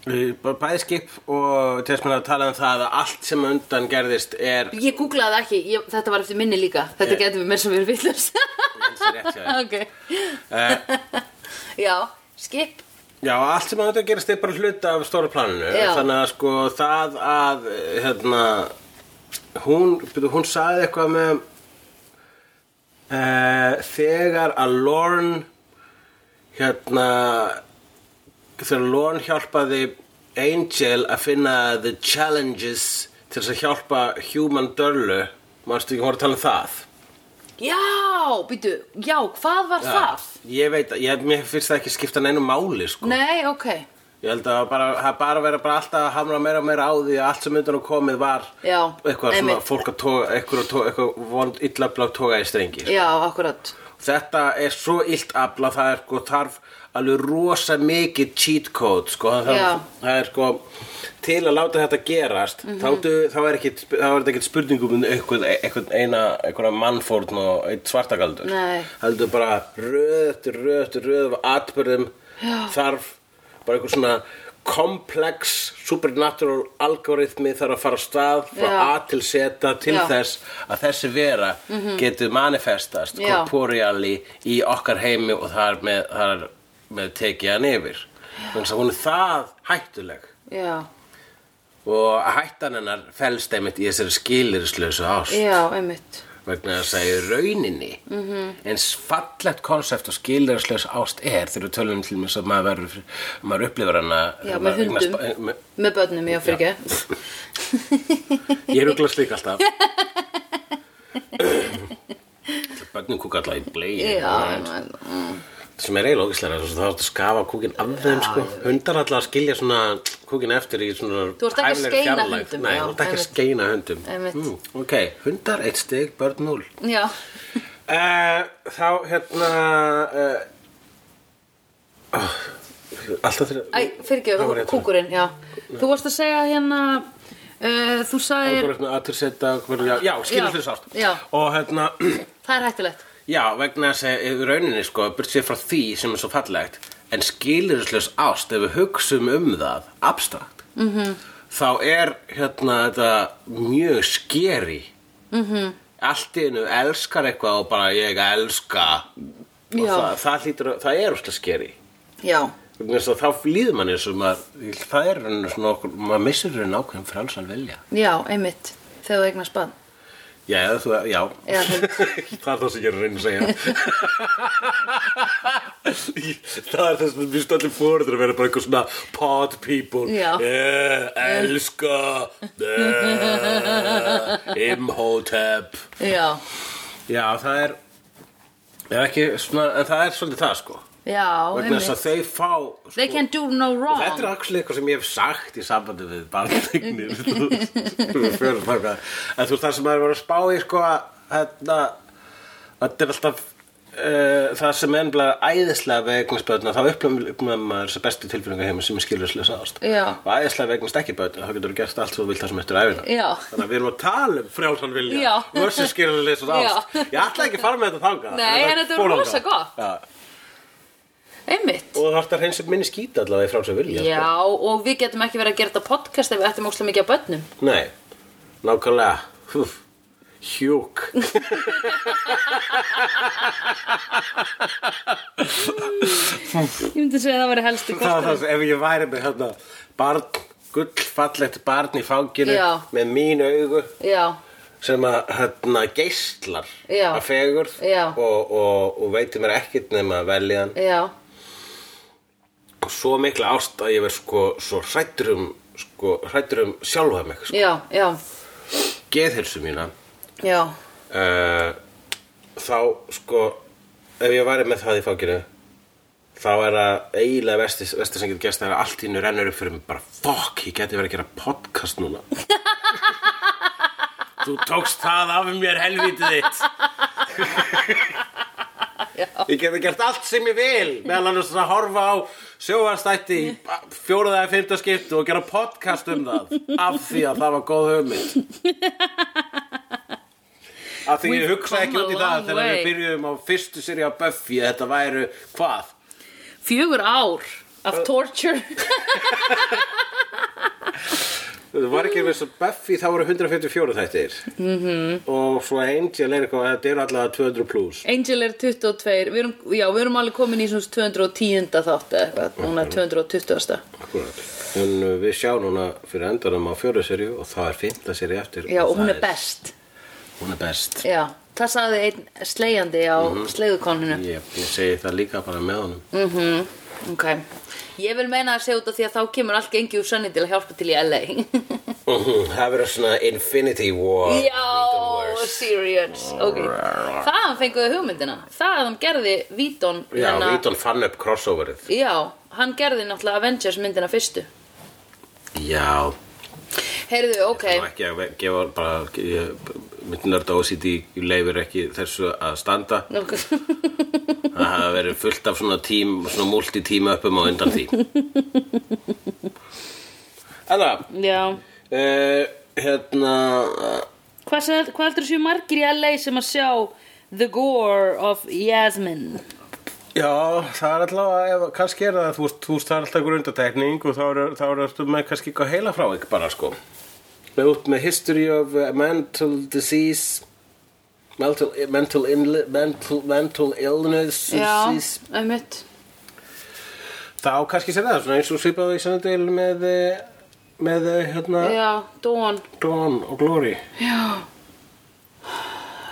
Speaker 1: Eh, b- Bæði Skip og Tesman að tala um það að allt sem undan gerðist er
Speaker 2: ég googlaði það ekki, ég, þetta var eftir minni líka Þetta
Speaker 1: Ég-
Speaker 2: getur við mér sem við erum villast
Speaker 1: Hansi rétt hjá þér.
Speaker 2: Ok,
Speaker 1: Eh,
Speaker 2: já, skip
Speaker 1: Já, allt sem undan gerðist er bara hluta af stóra planinu
Speaker 2: Já.
Speaker 1: Þannig að sko það að eh, hérna, hún, byrju, hún sagði eitthvað með uh, þegar að Lorne hérna þegar Lorne hjálpaði Angel að finna the challenges til þess að hjálpa human dörlu manstu ekki hún var að tala um það
Speaker 2: Já, býtu, já, hvað var það?
Speaker 1: ég veit, að- ég, mér finnst það ekki skipta neinu máli sko.
Speaker 2: Nei, ok,
Speaker 1: ég held að það bara, það bara vera bara alltaf að hamra meira og meira á því að allt sem undan og komið var
Speaker 2: Já,
Speaker 1: eitthvað svona
Speaker 2: einmitt.
Speaker 1: fólk að toga eitthvað, að toga, eitthvað vond, illa blá toga í strengi
Speaker 2: já, akkurat
Speaker 1: Þetta er svo illt afla, það er sko þarf alveg rosa mikið cheat code, sko, það,
Speaker 2: Já.
Speaker 1: þarf, það er sko til að láta þetta gerast mm
Speaker 2: Mhm.
Speaker 1: -hmm. þá, þá er ekkit, þá er þetta ekkit spurningum um einhvern, einhvern eina einhverja mannfórn og einn svartagaldur
Speaker 2: Nei.
Speaker 1: heldur bara röð eftir röð eftir röð af atbyrðum Já. þarf bara einhver svona komplex supernatural algoritmi þarf að fara af stað frá
Speaker 2: Já.
Speaker 1: A til Z til
Speaker 2: Já. Mhm.
Speaker 1: þess að þessi vera mm getur manifestast
Speaker 2: Já.
Speaker 1: corporeally sko, í okkar heimi og það er með, það er með tekið hann yfir þannig að hún er það hættuleg
Speaker 2: Já,
Speaker 1: og hættan hennar felst einmitt í þessari skilirinslösu ást
Speaker 2: já, Mhm. einmitt
Speaker 1: vegna þess að segja rauninni mm eins fallegt konsept og skilirinslösu ást er þegar við tölum til mér sem maður, verður- maður upplifur hana
Speaker 2: Já,
Speaker 1: þegar
Speaker 2: með
Speaker 1: maður eignast ba-
Speaker 2: hundum.
Speaker 1: með-
Speaker 2: Með börnum, já, fyrir ekki
Speaker 1: Ég rugla slík alltaf Bönnum kúka alltaf í blei
Speaker 2: Já, einmitt
Speaker 1: sem er eiginlega ógislega þá er þetta að skafa kúkin af þeim sko. hundar alltaf að skilja svona kúkin eftir í svona
Speaker 2: Þú ert ekki að
Speaker 1: hæfilegri
Speaker 2: skeina
Speaker 1: fjarlægð.
Speaker 2: hundum,
Speaker 1: Nei,
Speaker 2: já,
Speaker 1: þú ert ekki að
Speaker 2: einmitt.
Speaker 1: skeina hundum Hmm,
Speaker 2: Einmitt.
Speaker 1: Ok, hundar, eitt stig, börn núl
Speaker 2: Já,
Speaker 1: uh, Þá, hérna uh, oh, Alltaf þegar
Speaker 2: Æ,
Speaker 1: Það var
Speaker 2: fyrirgefur,
Speaker 1: rétt.
Speaker 2: kúkurinn, já Þú varst að segja hérna uh, Þú sagðir,
Speaker 1: Algoritmi, aðturseta, hvernig- um Já, já skilja fyrir sátt
Speaker 2: Já.
Speaker 1: Og hérna
Speaker 2: það er hættulegt
Speaker 1: Já, vegna þess að í rauninni sko, burt sér frá því sem er svo fallegt, en skilurislaus ást, ef við hugsum um það abstrakt, -hmm. þá er hérna þetta mjög skeri. Mm -hmm. Allt í einu elskar eitthvað og bara ég elska og
Speaker 2: Já.
Speaker 1: það, það, hlýtur, að- það er úrst að skeri.
Speaker 2: Já,
Speaker 1: Vegna þess að Þá líður manni sem að það er rauninni svona okkur, maður missir rauninni ákveðum frálsan vilja.
Speaker 2: já, einmitt Þegar þú eignast bann
Speaker 1: Já, eða þú, já.
Speaker 2: Já, þú-
Speaker 1: það er það sem ég er að reyna að segja. það er það sem við stöldum fórður að vera bara eitthvað svona pod people.
Speaker 2: Já.
Speaker 1: Eh, elska. Eh, Imhotep.
Speaker 2: Já,
Speaker 1: Já, það er, er ekki svona, en það er svolítið það sko.
Speaker 2: já,
Speaker 1: Vegna þess að
Speaker 2: einmitt
Speaker 1: þau fá... Sko,
Speaker 2: They can do no wrong
Speaker 1: Þetta er actually eitthvað sem ég hef sagt í sambandi við barneignir þú veist, við förum þangað. en þú veist það sem maður var að spá í sko að hérna, þetta er alltaf uh, það sem er ennblega æðislega við eignast börn að þá upplöfum maður þessar bestu tilfinningar heima sem er skilurslösa ást
Speaker 2: Já.
Speaker 1: og æðislega við eignast ekki börn þá getur þú gert allt svo þú vilt það sem eftir æfina
Speaker 2: Já.
Speaker 1: þannig að við erum að tala um frjálsan vilja
Speaker 2: Já.
Speaker 1: versus skilurslösa ást
Speaker 2: Já.
Speaker 1: ég ætla ekki að fara með þetta þangað
Speaker 2: Nei, en þetta er
Speaker 1: fór
Speaker 2: rosa
Speaker 1: þangað.
Speaker 2: gott.
Speaker 1: Já.
Speaker 2: Einmitt
Speaker 1: og þú þarfst að reynsa minni skýta allavega í frjálsan vilja sko.
Speaker 2: Já, og við getum ekki verið að gera þetta podcast ef við ættum óslega mikið að börnum
Speaker 1: Nei, nákvæmlega Húf. hjúk
Speaker 2: Ég myndi segja að það væri helstu
Speaker 1: það var
Speaker 2: kostur.
Speaker 1: það sem ef ég væri með hérna barn, gullfallegt barn í fanginu
Speaker 2: Já.
Speaker 1: með mín augu
Speaker 2: Já,
Speaker 1: sem að hérna geislar
Speaker 2: Já.
Speaker 1: að fegurð
Speaker 2: Já.
Speaker 1: og, og, og veitir mér ekkert nema veljan
Speaker 2: já,
Speaker 1: og svo mikla ást að ég verð sko svo hrættur um sko hrættur um sjálfa mig sko.
Speaker 2: já, já,
Speaker 1: geðhilsu mína
Speaker 2: já,
Speaker 1: uh, þá sko ef ég væri með það í fanginu þá er það eiginlega vestis, vestis sem getur gæst það er að allt innu rennur upp fyrir mig bara fokk, ég geti verið að gera podcast núna þú tókst það af mér helvítið þitt Ég geti gert allt sem ég vil meðal annars að horfa á sjóvarstætti í fjóruða eða fymta skiptu og gera podcast um það af því að það var góð hugmynd af því ég
Speaker 2: We've
Speaker 1: hugsaði ekki
Speaker 2: come
Speaker 1: út í
Speaker 2: a
Speaker 1: það
Speaker 2: long
Speaker 1: þegar við
Speaker 2: way.
Speaker 1: byrjuðum á fyrstu séri á Buffy að þetta væru hvað
Speaker 2: fjögur ár af torture
Speaker 1: það var ekki eins og Buffy þá voru 154 þættir mm
Speaker 2: Mhm.
Speaker 1: -hmm. og svo Angel er eitthvað þetta eru allavega 200 plus
Speaker 2: Angel er 22, við erum, já, við erum alveg komin í svona 210. þátt eða eitthvað, núna 220.
Speaker 1: Akkurat. en uh, við sjáum núna fyrir endanum á fjóru serju og það er fymta serju eftir
Speaker 2: Já,
Speaker 1: og
Speaker 2: og hún
Speaker 1: það
Speaker 2: er best.
Speaker 1: hún er best
Speaker 2: Já, það sagði einn slegjandi á mm slegðukoninu.
Speaker 1: Ég, ég segi það líka bara með honum
Speaker 2: Mhm. Ok, ég vil meina að segja út af því að þá kemur allt gengið úr sönni til að hjálpa til í LA.
Speaker 1: Mhm, Það verður svona Infinity War
Speaker 2: já, serious. Ok, þaðan fenguðu hugmyndina. Þaðan gerði Víton,
Speaker 1: Já, Víton fann upp crossoverið
Speaker 2: já, hann gerði náttúrulega Avengers myndina fyrstu.
Speaker 1: Já,
Speaker 2: Heyrðu, ok,
Speaker 1: það var ekki að ve- gefa bara ég- mitt nörd OCD leifir ekki þessu að standa
Speaker 2: ok,
Speaker 1: Það hafa verið fullt af svona tím svona multitíma uppum á undan því Þannig að
Speaker 2: já.
Speaker 1: uh, hérna
Speaker 2: Hvað, sem- hvað heldur þessu margir í LA sem að sjá The Gore of Yasmin?
Speaker 1: Já, það er allavega, ef, kannski er það, þú veist, þú veist, það er alltaf grundatekning og þá eru, þá eru alltaf með kannski eitthvað heila frá ekki bara, sko. Með út með history of uh, mental disease, mental, eh, mental, inli, mental, mental illness, disease.
Speaker 2: einmitt.
Speaker 1: þá kannski sér það, svona eins og svipaðu í sannadil með, eh, með, eh, hérna,
Speaker 2: Já, Dawn.
Speaker 1: Dawn og Glory.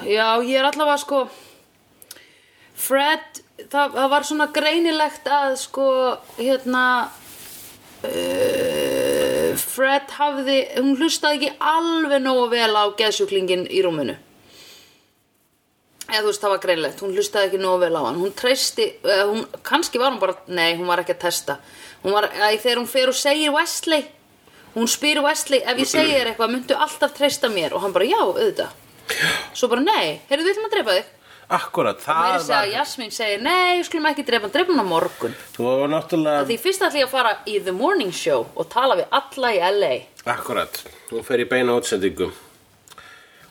Speaker 2: Já, ég er allavega sko Fred, það, það var svona greinilegt að sko hérna uh, Fred hafði hún hlustaði ekki alveg nógu vel á geðsjúklingin í rúminu eða þú veist það var greinilegt hún hlustaði ekki nógu vel á hann hún treysti, eða hún, kannski var hún bara nei, hún var ekki að testa hún var, að, þegar hún fer og segir Wesley hún spyr Wesley, ef ég segir þér eitthvað myndu alltaf treysta mér og hann bara já, auðvitað Svo bara nei, heyrðu við ætlum að drepa þig
Speaker 1: Akkurat,
Speaker 2: Það er
Speaker 1: það
Speaker 2: þess að
Speaker 1: var,
Speaker 2: Jasmín segir nei, við skulum ekki drepa hann, drepa hann á morgun
Speaker 1: þú var náttúrulega,
Speaker 2: Því fyrst ætlum ég að fara í The Morning Show og tala við alla í LA
Speaker 1: Akkurat, hún fer í beina útsendingu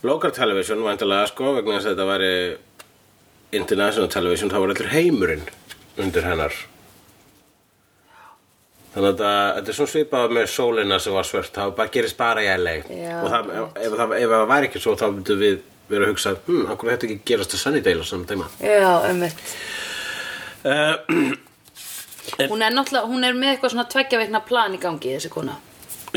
Speaker 1: Local Television væntalega sko vegna þess að þetta væri International Television þá var allur heimurinn undir hennar Þannig að þetta- þetta er svona svipað með sólina sem var svört það bara gerist bara í LA
Speaker 2: Já,
Speaker 1: og það, ef, ef, það, ef það væri ekki svo þá myndum við vera að hugsa hm, akkur þetta ekki gerast að Sunnydale á saman dæma
Speaker 2: Já, ummitt
Speaker 1: uh,
Speaker 2: Hún er náttúrulega, hún er með eitthvað svona tveggja veikna plan í gangi þessi kona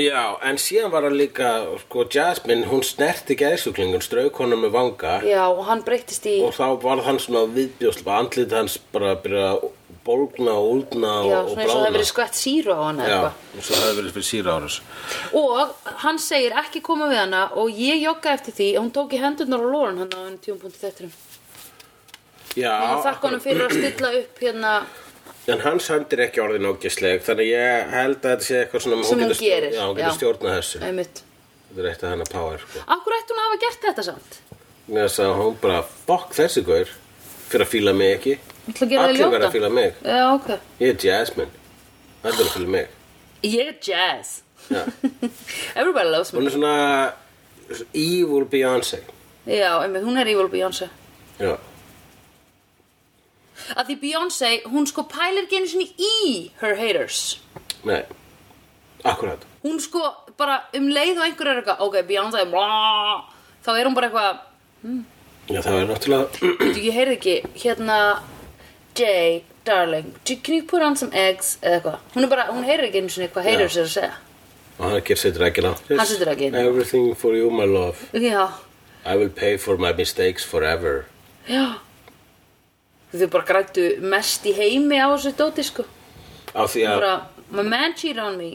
Speaker 1: Já, en síðan var hann líka sko Jasmine, hún snerti geðsjúklingun strauk honum með vanga
Speaker 2: Já, og hann breyttist í
Speaker 1: og þá var hann svona viðbjóðsl bara andlit hans bara að byrja að bólgna og úlna og,
Speaker 2: Já,
Speaker 1: og
Speaker 2: svona eins og það
Speaker 1: brána
Speaker 2: hefur verið skvætt síru á hana eða
Speaker 1: Já,
Speaker 2: eitthvað
Speaker 1: og svo það hefur verið fyrir síra áras
Speaker 2: Og hann segir ekki koma við hana og ég jogga eftir því að hún tók í hendurnar á Lauren hann á enn tjónpunti þetturum
Speaker 1: Já,
Speaker 2: Ég þakka honum fyrir að stilla upp hérna
Speaker 1: en hans hendur ekki orðin ógisleg þannig að ég held að þetta sé eitthvað svona
Speaker 2: sem hún
Speaker 1: getur stjórn-
Speaker 2: gerir
Speaker 1: Já, hún getur stjórnað þessu
Speaker 2: Einmitt
Speaker 1: Þetta er eitt af hennar power sko.
Speaker 2: Akkur ætti hún að hafa gert þetta samt?
Speaker 1: Með þess að hún bara, fokk þessi gaur fyrir að fíla mig ekki
Speaker 2: Hún ætla að gera þig
Speaker 1: Allir verða
Speaker 2: ljóta.
Speaker 1: að fíla mig
Speaker 2: Já, ok.
Speaker 1: Ég er Jasmine Allir verða að fíla mig
Speaker 2: Ég er jazz.
Speaker 1: Já.
Speaker 2: Everybody loves me.
Speaker 1: Hún er svona evil Beyoncé
Speaker 2: Já, einmitt, hún er evil Beyoncé.
Speaker 1: Já,
Speaker 2: Að því Beyoncé, hún sko pælir ekki einu sinni í her haters.
Speaker 1: nei Akkurat
Speaker 2: Hún sko bara um leið og einhver er eitthvað, ok, Beyoncé, bla, þá er hún bara eitthvað,
Speaker 1: Já, það er náttúrulega
Speaker 2: Veitu, ég heyrði ekki, hérna Jay, darling, do- can you put on some eggs eða eitthvað, hún er bara, hún heyrir ekki einu sinni hvað heyrir sér að segja,
Speaker 1: og hann ger setur ekki langt
Speaker 2: Hann setur eggin.
Speaker 1: Everything for you my love
Speaker 2: já
Speaker 1: I will pay for my mistakes forever
Speaker 2: já þau bara grættu mest í heimi á þessu dóti sko,
Speaker 1: Af því að
Speaker 2: bara my man cheated on me,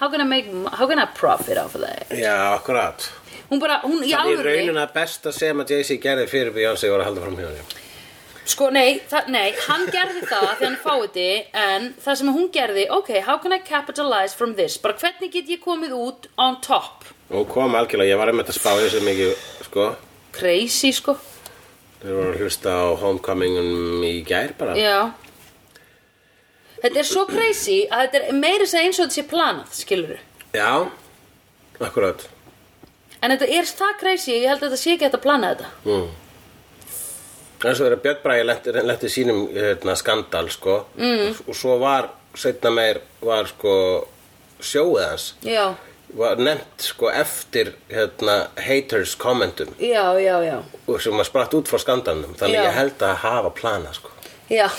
Speaker 2: how can I make how can I profit off of that
Speaker 1: Já, akkurat
Speaker 2: hún bara, hún í
Speaker 1: Þannig
Speaker 2: alvörni
Speaker 1: raunina besta sem að Jay-Z gerði fyrir Beyoncé var að halda fram hjá henni
Speaker 2: Sko, nei, það, nei, hann gerði það því hann fáiði, en það sem hún gerði, ok, how can I capitalize from this? Bara hvernig get ég komið út on top?
Speaker 1: Og kom algjörlega, ég var einmitt að spá í þessu mikið, sko
Speaker 2: Crazy, sko.
Speaker 1: Þeir voru að hlusta á Homecomingunum í gær bara
Speaker 2: Já. Þetta er svo crazy að þetta er meira sem eins og þetta sé planað, skilur
Speaker 1: Já, akkurat
Speaker 2: En þetta er það crazy, ég held að þetta sé ekki hægt að plana þetta.
Speaker 1: mm. En svo þegar Björn Bræði letti, letti sínum hérna, skandal, sko mm. og, svo var, seinna meir var, sko, sjóið hans
Speaker 2: Já,
Speaker 1: var nefnt sko eftir hérna, haters kommentum
Speaker 2: já, já, já.
Speaker 1: og sem var spratt út frá skandalnum þannig
Speaker 2: Já.
Speaker 1: ég held að hafa plana sko
Speaker 2: Já,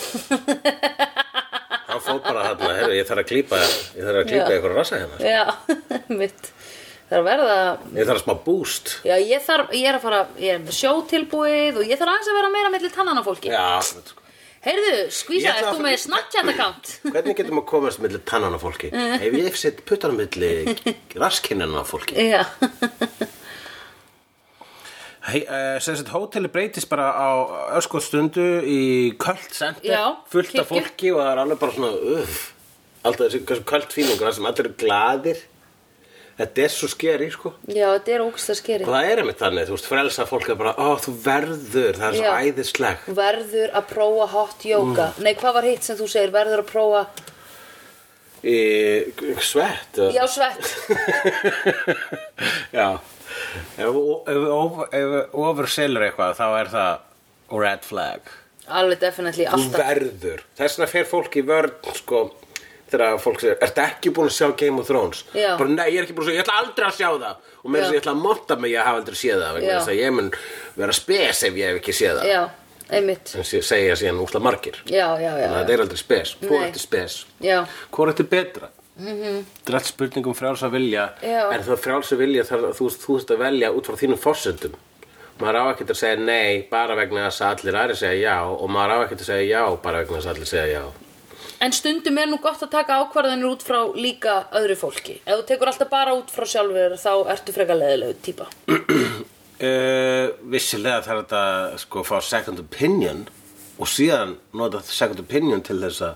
Speaker 1: hann fór bara hérna, herru, ég þarf að klípa ég þarf að klípa
Speaker 2: Já.
Speaker 1: ykkur rassa hérna
Speaker 2: já, mitt. Það er að verða
Speaker 1: ég þarf að smá boost
Speaker 2: Já, ég þarf, ég er að fara, ég er með sjótilbúið og ég þarf aðeins að vera meira mellir tannana fólki.
Speaker 1: Já, akkurat, sko.
Speaker 2: Heyrðu, skvísa,
Speaker 1: Ég ætla
Speaker 2: ert
Speaker 1: að
Speaker 2: þú
Speaker 1: fara-
Speaker 2: með Snapchat account?
Speaker 1: hvernig getum við að komast millir tannana á fólki
Speaker 2: Mm.
Speaker 1: ef ég set puttan millir raskinnana á fólki
Speaker 2: Já,
Speaker 1: Hei, uh, sem sagt, hóteli breytist bara á öskot stundu í kvöld center,
Speaker 2: Já,
Speaker 1: fullt af
Speaker 2: kirkju.
Speaker 1: fólki og það er alveg bara svona, uff, alltaf þessi hversu kvöld fílingur, það sem allir eru gladir. Þetta er svo skeri, sko.
Speaker 2: já, þetta er ógsta skeri.
Speaker 1: Og það er einmitt þannig, þú veist, frelsa fólk er bara, ó, þú verður, það er svo
Speaker 2: Já.
Speaker 1: æðisleg.
Speaker 2: Verður að prófa hot yoga.
Speaker 1: Mm.
Speaker 2: Nei, hvað var hitt sem þú segir, verður að prófa,
Speaker 1: Í, svett. eða-
Speaker 2: já, svett.
Speaker 1: Já. Ef o- ef o- ef overselur eitthvað, þá er það red flag.
Speaker 2: Alveg definitely,
Speaker 1: Þú
Speaker 2: alltaf.
Speaker 1: verður. Þess vegna fer fólk í vörn, sko, þegar fólk segir, ertu ekki búin að sjá Game of Thrones?
Speaker 2: Já.
Speaker 1: Bara, nei, ég er ekki búin að sjá, ég ætla aldrei að sjá það. Og með þess
Speaker 2: Já.
Speaker 1: að ég ætla að monta mig að ég hafa aldrei séð það,
Speaker 2: Já.
Speaker 1: vegna þess að ég mun vera spes ef ég hef ekki séð það.
Speaker 2: Já, einmitt.
Speaker 1: En sé- segja síðan útla margir.
Speaker 2: Já, já, já,
Speaker 1: Þannig að
Speaker 2: já.
Speaker 1: þetta er aldrei spes. Hvor
Speaker 2: Nei.
Speaker 1: eftir spes?
Speaker 2: Já,
Speaker 1: Hvor eftir betra? Mm -hmm. Þetta er allt spurning um frjálsa vilja
Speaker 2: Já.
Speaker 1: en það frjálsa vilja þar, þú, þú veist að velja út frá þínum forsendum maður á ekkert að segja nei bara vegna þess að allir aðri segja já og maður á ekkert að segja já bara vegna þess að allir segja já
Speaker 2: en stundum er nú gott að taka ákvarðanir út frá líka öðru fólki. Ef þú tekur alltaf bara út frá sjálfur, þá ertu frekar leðilegu típa.
Speaker 1: Uh, vissilega þarf þetta sko að fá second opinion og síðan nota second opinion til þess að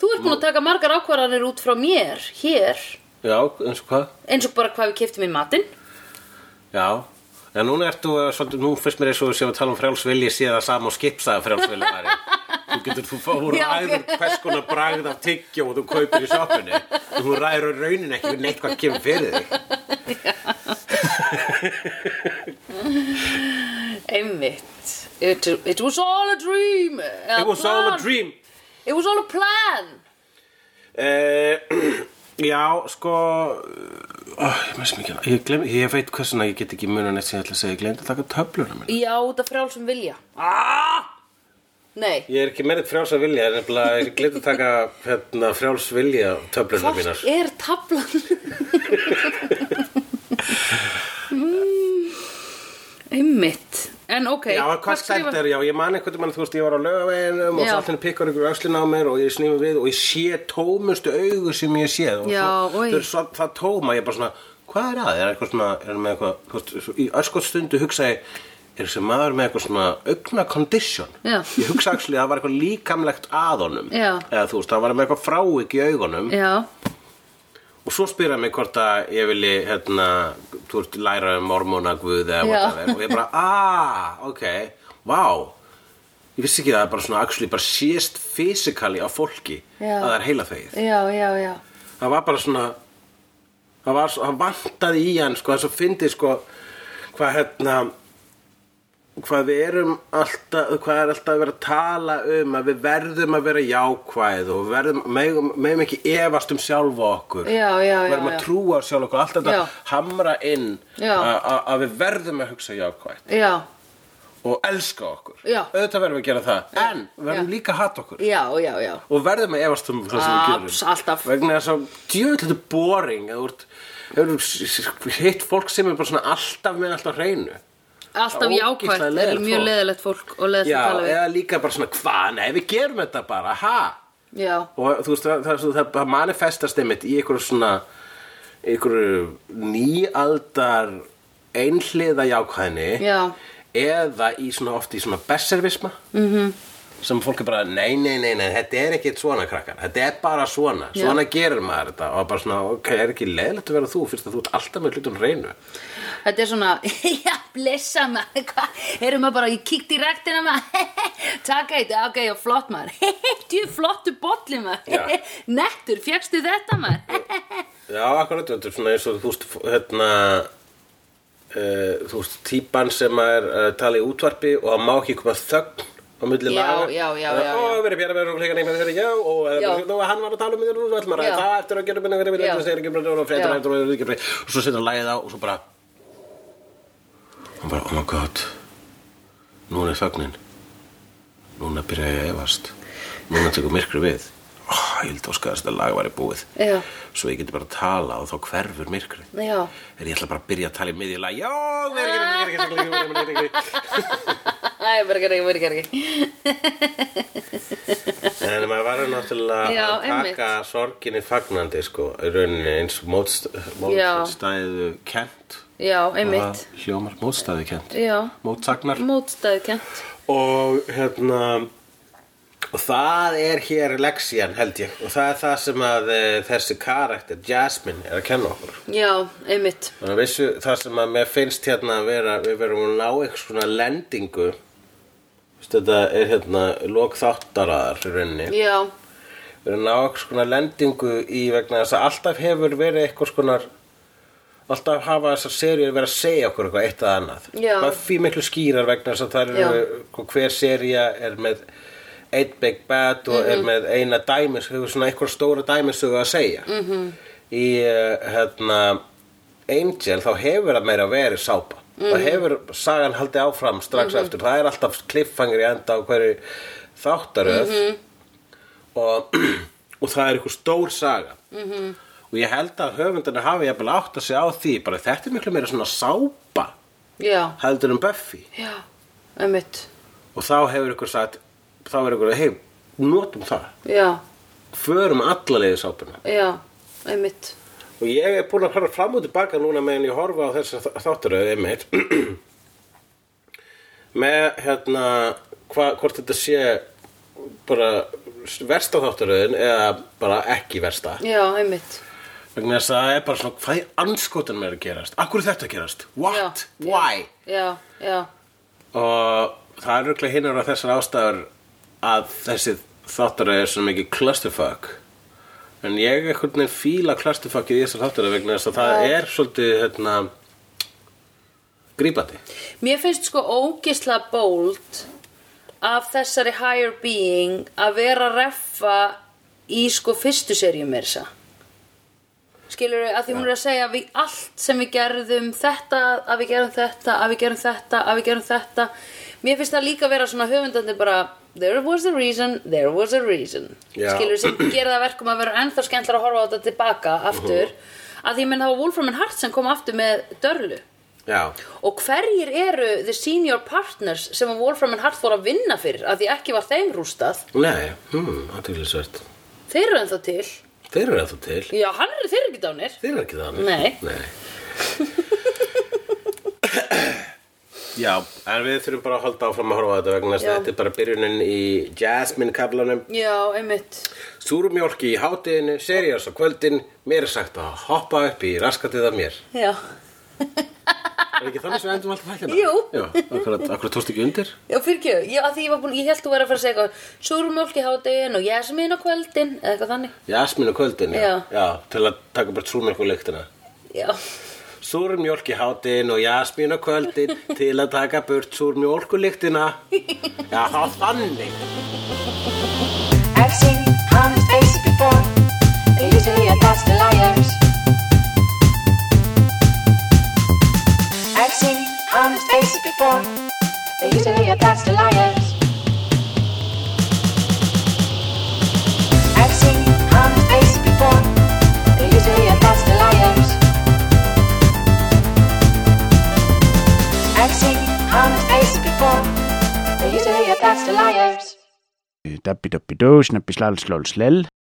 Speaker 2: Þú ert búin að taka margar ákvarðanir út frá mér, hér,
Speaker 1: já, eins og hvað
Speaker 2: eins og bara hvað við keftum í matinn.
Speaker 1: já, en núna ertu eh, svolítið, nú fyrst mér eins og við séum að tala um frjálsvilji síðan sama og skipsaða frjálsvilji væri þú getur, þú fór og
Speaker 2: Já, ok.
Speaker 1: ræður hvers konar bragð af tyggjó og þú kaupir í sjoppunni og þú ræður á raunin ekki við neitt hvað kemur fyrir þig
Speaker 2: Einmitt. It, it was all a dream.
Speaker 1: it was all a dream
Speaker 2: It was all a plan.
Speaker 1: Uh, já, sko oh, ég, misst mikið. ég, glem, ég veit hversuna ég get ekki munið neitt sem ég ætla að segja, ég glemd að taka töfluna minna
Speaker 2: Já, út af frjálsum vilja. Ah! Nei.
Speaker 1: Ég er ekki meiritt frjáls að vilja, en nefnilega ég glemt að taka hérna, frjáls vilja töfluna mínar
Speaker 2: Hvort er tablan? Mm, Einmitt. En ok,
Speaker 1: Já, hvað stælt er, já, ég man einhvern veginn, þú veist, ég var á lögaveginum og
Speaker 2: Já.
Speaker 1: sáttin pikkar ykkur öxlina á mér og ég snými við og ég sé tómustu augu sem ég sé og
Speaker 4: Já,
Speaker 1: svo,
Speaker 4: oj.
Speaker 1: þau eru svo, það tóma, ég er bara svona, hvað er að, er eitthvað svona, er með eitthvað, þú veist, svo, í öskot stundu hugsa ég, er þessi maður með eitthvað svona augna condition
Speaker 4: Já.
Speaker 1: ég hugsa axli að það var eitthvað líkamlegt að honum
Speaker 4: Já.
Speaker 1: eða þú veist, það var með eitthvað frávik í augunum
Speaker 4: Já,
Speaker 1: og svo spyr hann mig hvort að ég vilji hérna, þú veist, læra um mormónagvuð eða
Speaker 4: Já.
Speaker 1: whatever og ég bara, aaa, ok, vá ég vissi ekki að það er bara svona actually bara sést fysikali á fólki
Speaker 4: Já.
Speaker 1: að það er heila þegið
Speaker 4: já, já, já.
Speaker 1: það var bara svona það var svo, hann vantaði í hann sko, þess að fyndi sko hvað hérna hvað við erum alltaf hvað er alltaf að vera að tala um að við verðum að vera jákvæð og við verðum, megum, megum ekki efast um sjálfa okkur
Speaker 4: Já, já, já,
Speaker 1: verðum
Speaker 4: já.
Speaker 1: að trúa á sjálf okkur allt þetta
Speaker 4: Já.
Speaker 1: hamra inn
Speaker 4: Já.
Speaker 1: að- að að við verðum að hugsa jákvæð
Speaker 4: Já,
Speaker 1: og elska okkur
Speaker 4: Já.
Speaker 1: auðvitað verðum við að gera það en verðum
Speaker 4: Já.
Speaker 1: líka að hata okkur
Speaker 4: já, já, já
Speaker 1: og verðum að efast um það sem við gerum
Speaker 4: Abs- alltaf.
Speaker 1: vegna þess að djöfull þetta er boring að þú ert hitt fólk sem er bara svona alltaf með alltaf hreinu
Speaker 4: Alltaf
Speaker 1: Ógeðslega
Speaker 4: jákvæmt,
Speaker 1: leiðilegt
Speaker 4: er mjög
Speaker 1: fólk.
Speaker 4: leðilegt fólk og leðilegt
Speaker 1: já,
Speaker 4: að tala við
Speaker 1: eða líka bara svona hvað, nei við gerum þetta bara, ha
Speaker 4: Já,
Speaker 1: og þú veist, það, það, það, það manifestast einmitt í einhverju svona einhverju nýaldar einhliða jákvæðinni
Speaker 4: Já.
Speaker 1: eða í svona oft í svona berservisma mm -hmm.
Speaker 4: Mhm.
Speaker 1: sem fólk er bara, nei, nei, nei, nei þetta er ekkert svona krakkar, þetta er bara svona
Speaker 4: Já.
Speaker 1: svona gerir maður þetta og bara svona, ok, er ekki leiðilegt að vera þú fyrst að þú ert alltaf með hlutun reynu
Speaker 4: þetta er svona
Speaker 2: Já, blessa maður, hvað, erum maður bara, ég kíkt í ræktina maður, takk eitt, ok, já, flott maður, djú, flottu bolli
Speaker 1: Já.
Speaker 2: maður, nettur, fjöxtu þetta maður,
Speaker 1: Já, akkurat, þetta er svona eins og þú veist, hérna, uh, þú veist, típan sem er uh, talið í útvarpi og það má ekki koma þögn á milli
Speaker 4: Já,
Speaker 1: laga.
Speaker 4: já, já, já,
Speaker 1: Ó, við erum bjara með okkur líka nefnir þeirra, já, og
Speaker 4: Já.
Speaker 1: eða, nú, hann var að tala um þetta, þú ætlum að
Speaker 4: Já.
Speaker 1: ræða það eftir að gera minna, við erum
Speaker 4: Já.
Speaker 1: bjara með okkur líka nefnir um og
Speaker 4: Já.
Speaker 1: fréttur, fréttur, fréttur, fréttur, fréttur, og svo setur hann lagið á og svo bara, og bara, oh my god, núna er þögnin, núna byrja ég að efast, núna tekur myrkri við, oh, ég held óskast að laga var búið
Speaker 4: Já.
Speaker 1: svo ég geti bara að tala og þá hverfur myrkrið
Speaker 4: Já,
Speaker 1: en ég ætla bara að byrja að tala í miðjula já, við erum ekki, við erum ekki, við erum ekki
Speaker 4: það er bara ekki, bara ekki
Speaker 1: en maður verður náttúrulega
Speaker 4: Já,
Speaker 1: að taka
Speaker 4: einmitt.
Speaker 1: sorginni fagnandi sko, í rauninni eins og mótst,
Speaker 4: Já.
Speaker 1: mótstæðu kent
Speaker 4: Já, einmitt
Speaker 1: Það hljómar mótstæðu kent
Speaker 4: Já,
Speaker 1: mótsagnar
Speaker 4: mótstæðkjönt
Speaker 1: og hérna og það er hér leksían held ég og það er það sem að e, þessi karakter Jasmine er að kenna okkur
Speaker 4: Já, einmitt
Speaker 1: Þannig að vissu það sem að mér finnst hérna að vera, við verum að ná eitthvað svona lendingu Veistu, Þetta er hérna lok þáttaraðar í rauninni
Speaker 4: Já,
Speaker 1: Við erum að ná eitthvað svona lendingu í vegna þess að alltaf hefur verið eitthvað svona Alltaf hafa þessar seríur verið að segja okkur eitthvað eitt að annað
Speaker 4: Já.
Speaker 1: Buffy miklu skýrar vegna þess að það
Speaker 4: Já.
Speaker 1: eru sko, hver sería er með eitt big bad og
Speaker 4: Mhm.
Speaker 1: er með eina dæmis hefur svona eitthvað stóra dæmisögu að segja mm
Speaker 4: Mhm.
Speaker 1: -hmm. í eh, hérna Angel þá hefur það meira verið sápa það
Speaker 4: Mhm.
Speaker 1: hefur sagan haldið áfram strax eftir það er alltaf kliffangri enda á hverju þáttaröð
Speaker 4: Mhm.
Speaker 1: og, og það er eitthvað stór saga -hmm. og ég held að höfundarnir hafi jafnvel átt að segja á því bara þetta er miklu meira svona sápa
Speaker 4: já,
Speaker 1: heldur um Buffy
Speaker 4: já, einmitt
Speaker 1: og þá hefur ykkur sagt þá er ykkur að hei, notum það
Speaker 4: Já,
Speaker 1: förum alla leiði sápuna
Speaker 4: já, einmitt
Speaker 1: og ég er búin að fara fram og tilbaka núna meðan ég horfa á þess að þátturöðu einmitt með hérna hva, hvort þetta sé bara versta þátturöðin eða bara ekki versta
Speaker 4: Já, einmitt
Speaker 1: vegna þess að það er bara svona hvað er anskotan með að gerast, akkur er þetta að gerast what,
Speaker 4: Já,
Speaker 1: why
Speaker 4: Já, já,
Speaker 1: og það er röglega hinnar á þessar ástæður að þessi þáttaröð er svona mikið clusterfuck en ég einhvern veginn fíla clusterfuckið í þessar þáttaröð vegna þess að það er svolítið hérna, grípandi
Speaker 4: Mér finnst sko ógisla bold af þessari higher being að vera að reffa í sko fyrstu serjum er þessa. Skilur við að því hún er að segja að við allt sem við gerðum þetta, að við gerum þetta, að við gerum þetta, að við gerum þetta. Mér finnst það líka vera svona höfundandi bara there was a reason, there was a reason.
Speaker 1: Já.
Speaker 4: Skilur við sem gera það verkum að vera ennþá skemmtlar að horfa á þetta tilbaka aftur. Að því ég menn það var Wolfram and Hart sem kom aftur með Dörlu.
Speaker 1: já,
Speaker 4: Og hverjir eru the senior partners sem að Wolfram and Hart fór að vinna fyrir að því ekki var þeim rústað?
Speaker 1: nei, hmm, aðtöklisvert
Speaker 4: Þeir eru ennþá til.
Speaker 1: þeir eru að þú til,
Speaker 4: Já, hann eru þeir eru ekki dánir.
Speaker 1: þeir eru ekki þannig
Speaker 4: Nei.
Speaker 1: já, en við þurfum bara að halda áfram að horfa á þetta vegna þess að
Speaker 4: Já.
Speaker 1: þetta er bara byrjunin í Jasmine kablanum
Speaker 4: Já, einmitt.
Speaker 1: Súrumjólki í hátiðinu, serías á kvöldin, mér er sagt að hoppa upp í raskatið af mér.
Speaker 4: Já.
Speaker 1: Er ekki þannig sem við endum alltaf hérna? hækjana?
Speaker 4: Jú.
Speaker 1: Já, akkurat, akkurat tókst ekki undir?
Speaker 4: Já, fyrirgjöf. Já, að því ég var búin, ég held þú verið að fara að segja eitthvað, súrumjólk í hádegin og jasmin á kvöldin, eða eitthvað þannig.
Speaker 1: Jasmin á kvöldin, já.
Speaker 4: Já.
Speaker 1: til að taka bara súrumjólk úr lyktina.
Speaker 4: Já.
Speaker 1: Súrumjólk í hátiðinu og jasmin á kvöldin til að taka burt súrumjólk úr lyktina. Já, það þannig.
Speaker 5: I've seen honest faces before. They usually are past the liars. I've seen honest faces before. They're usually a best of liars. I've seen honest faces before. They're usually a best of liars. I've seen honest faces before. They're usually a best of liars.
Speaker 6: Dabbi dabbi dó, snabbi slal slól slell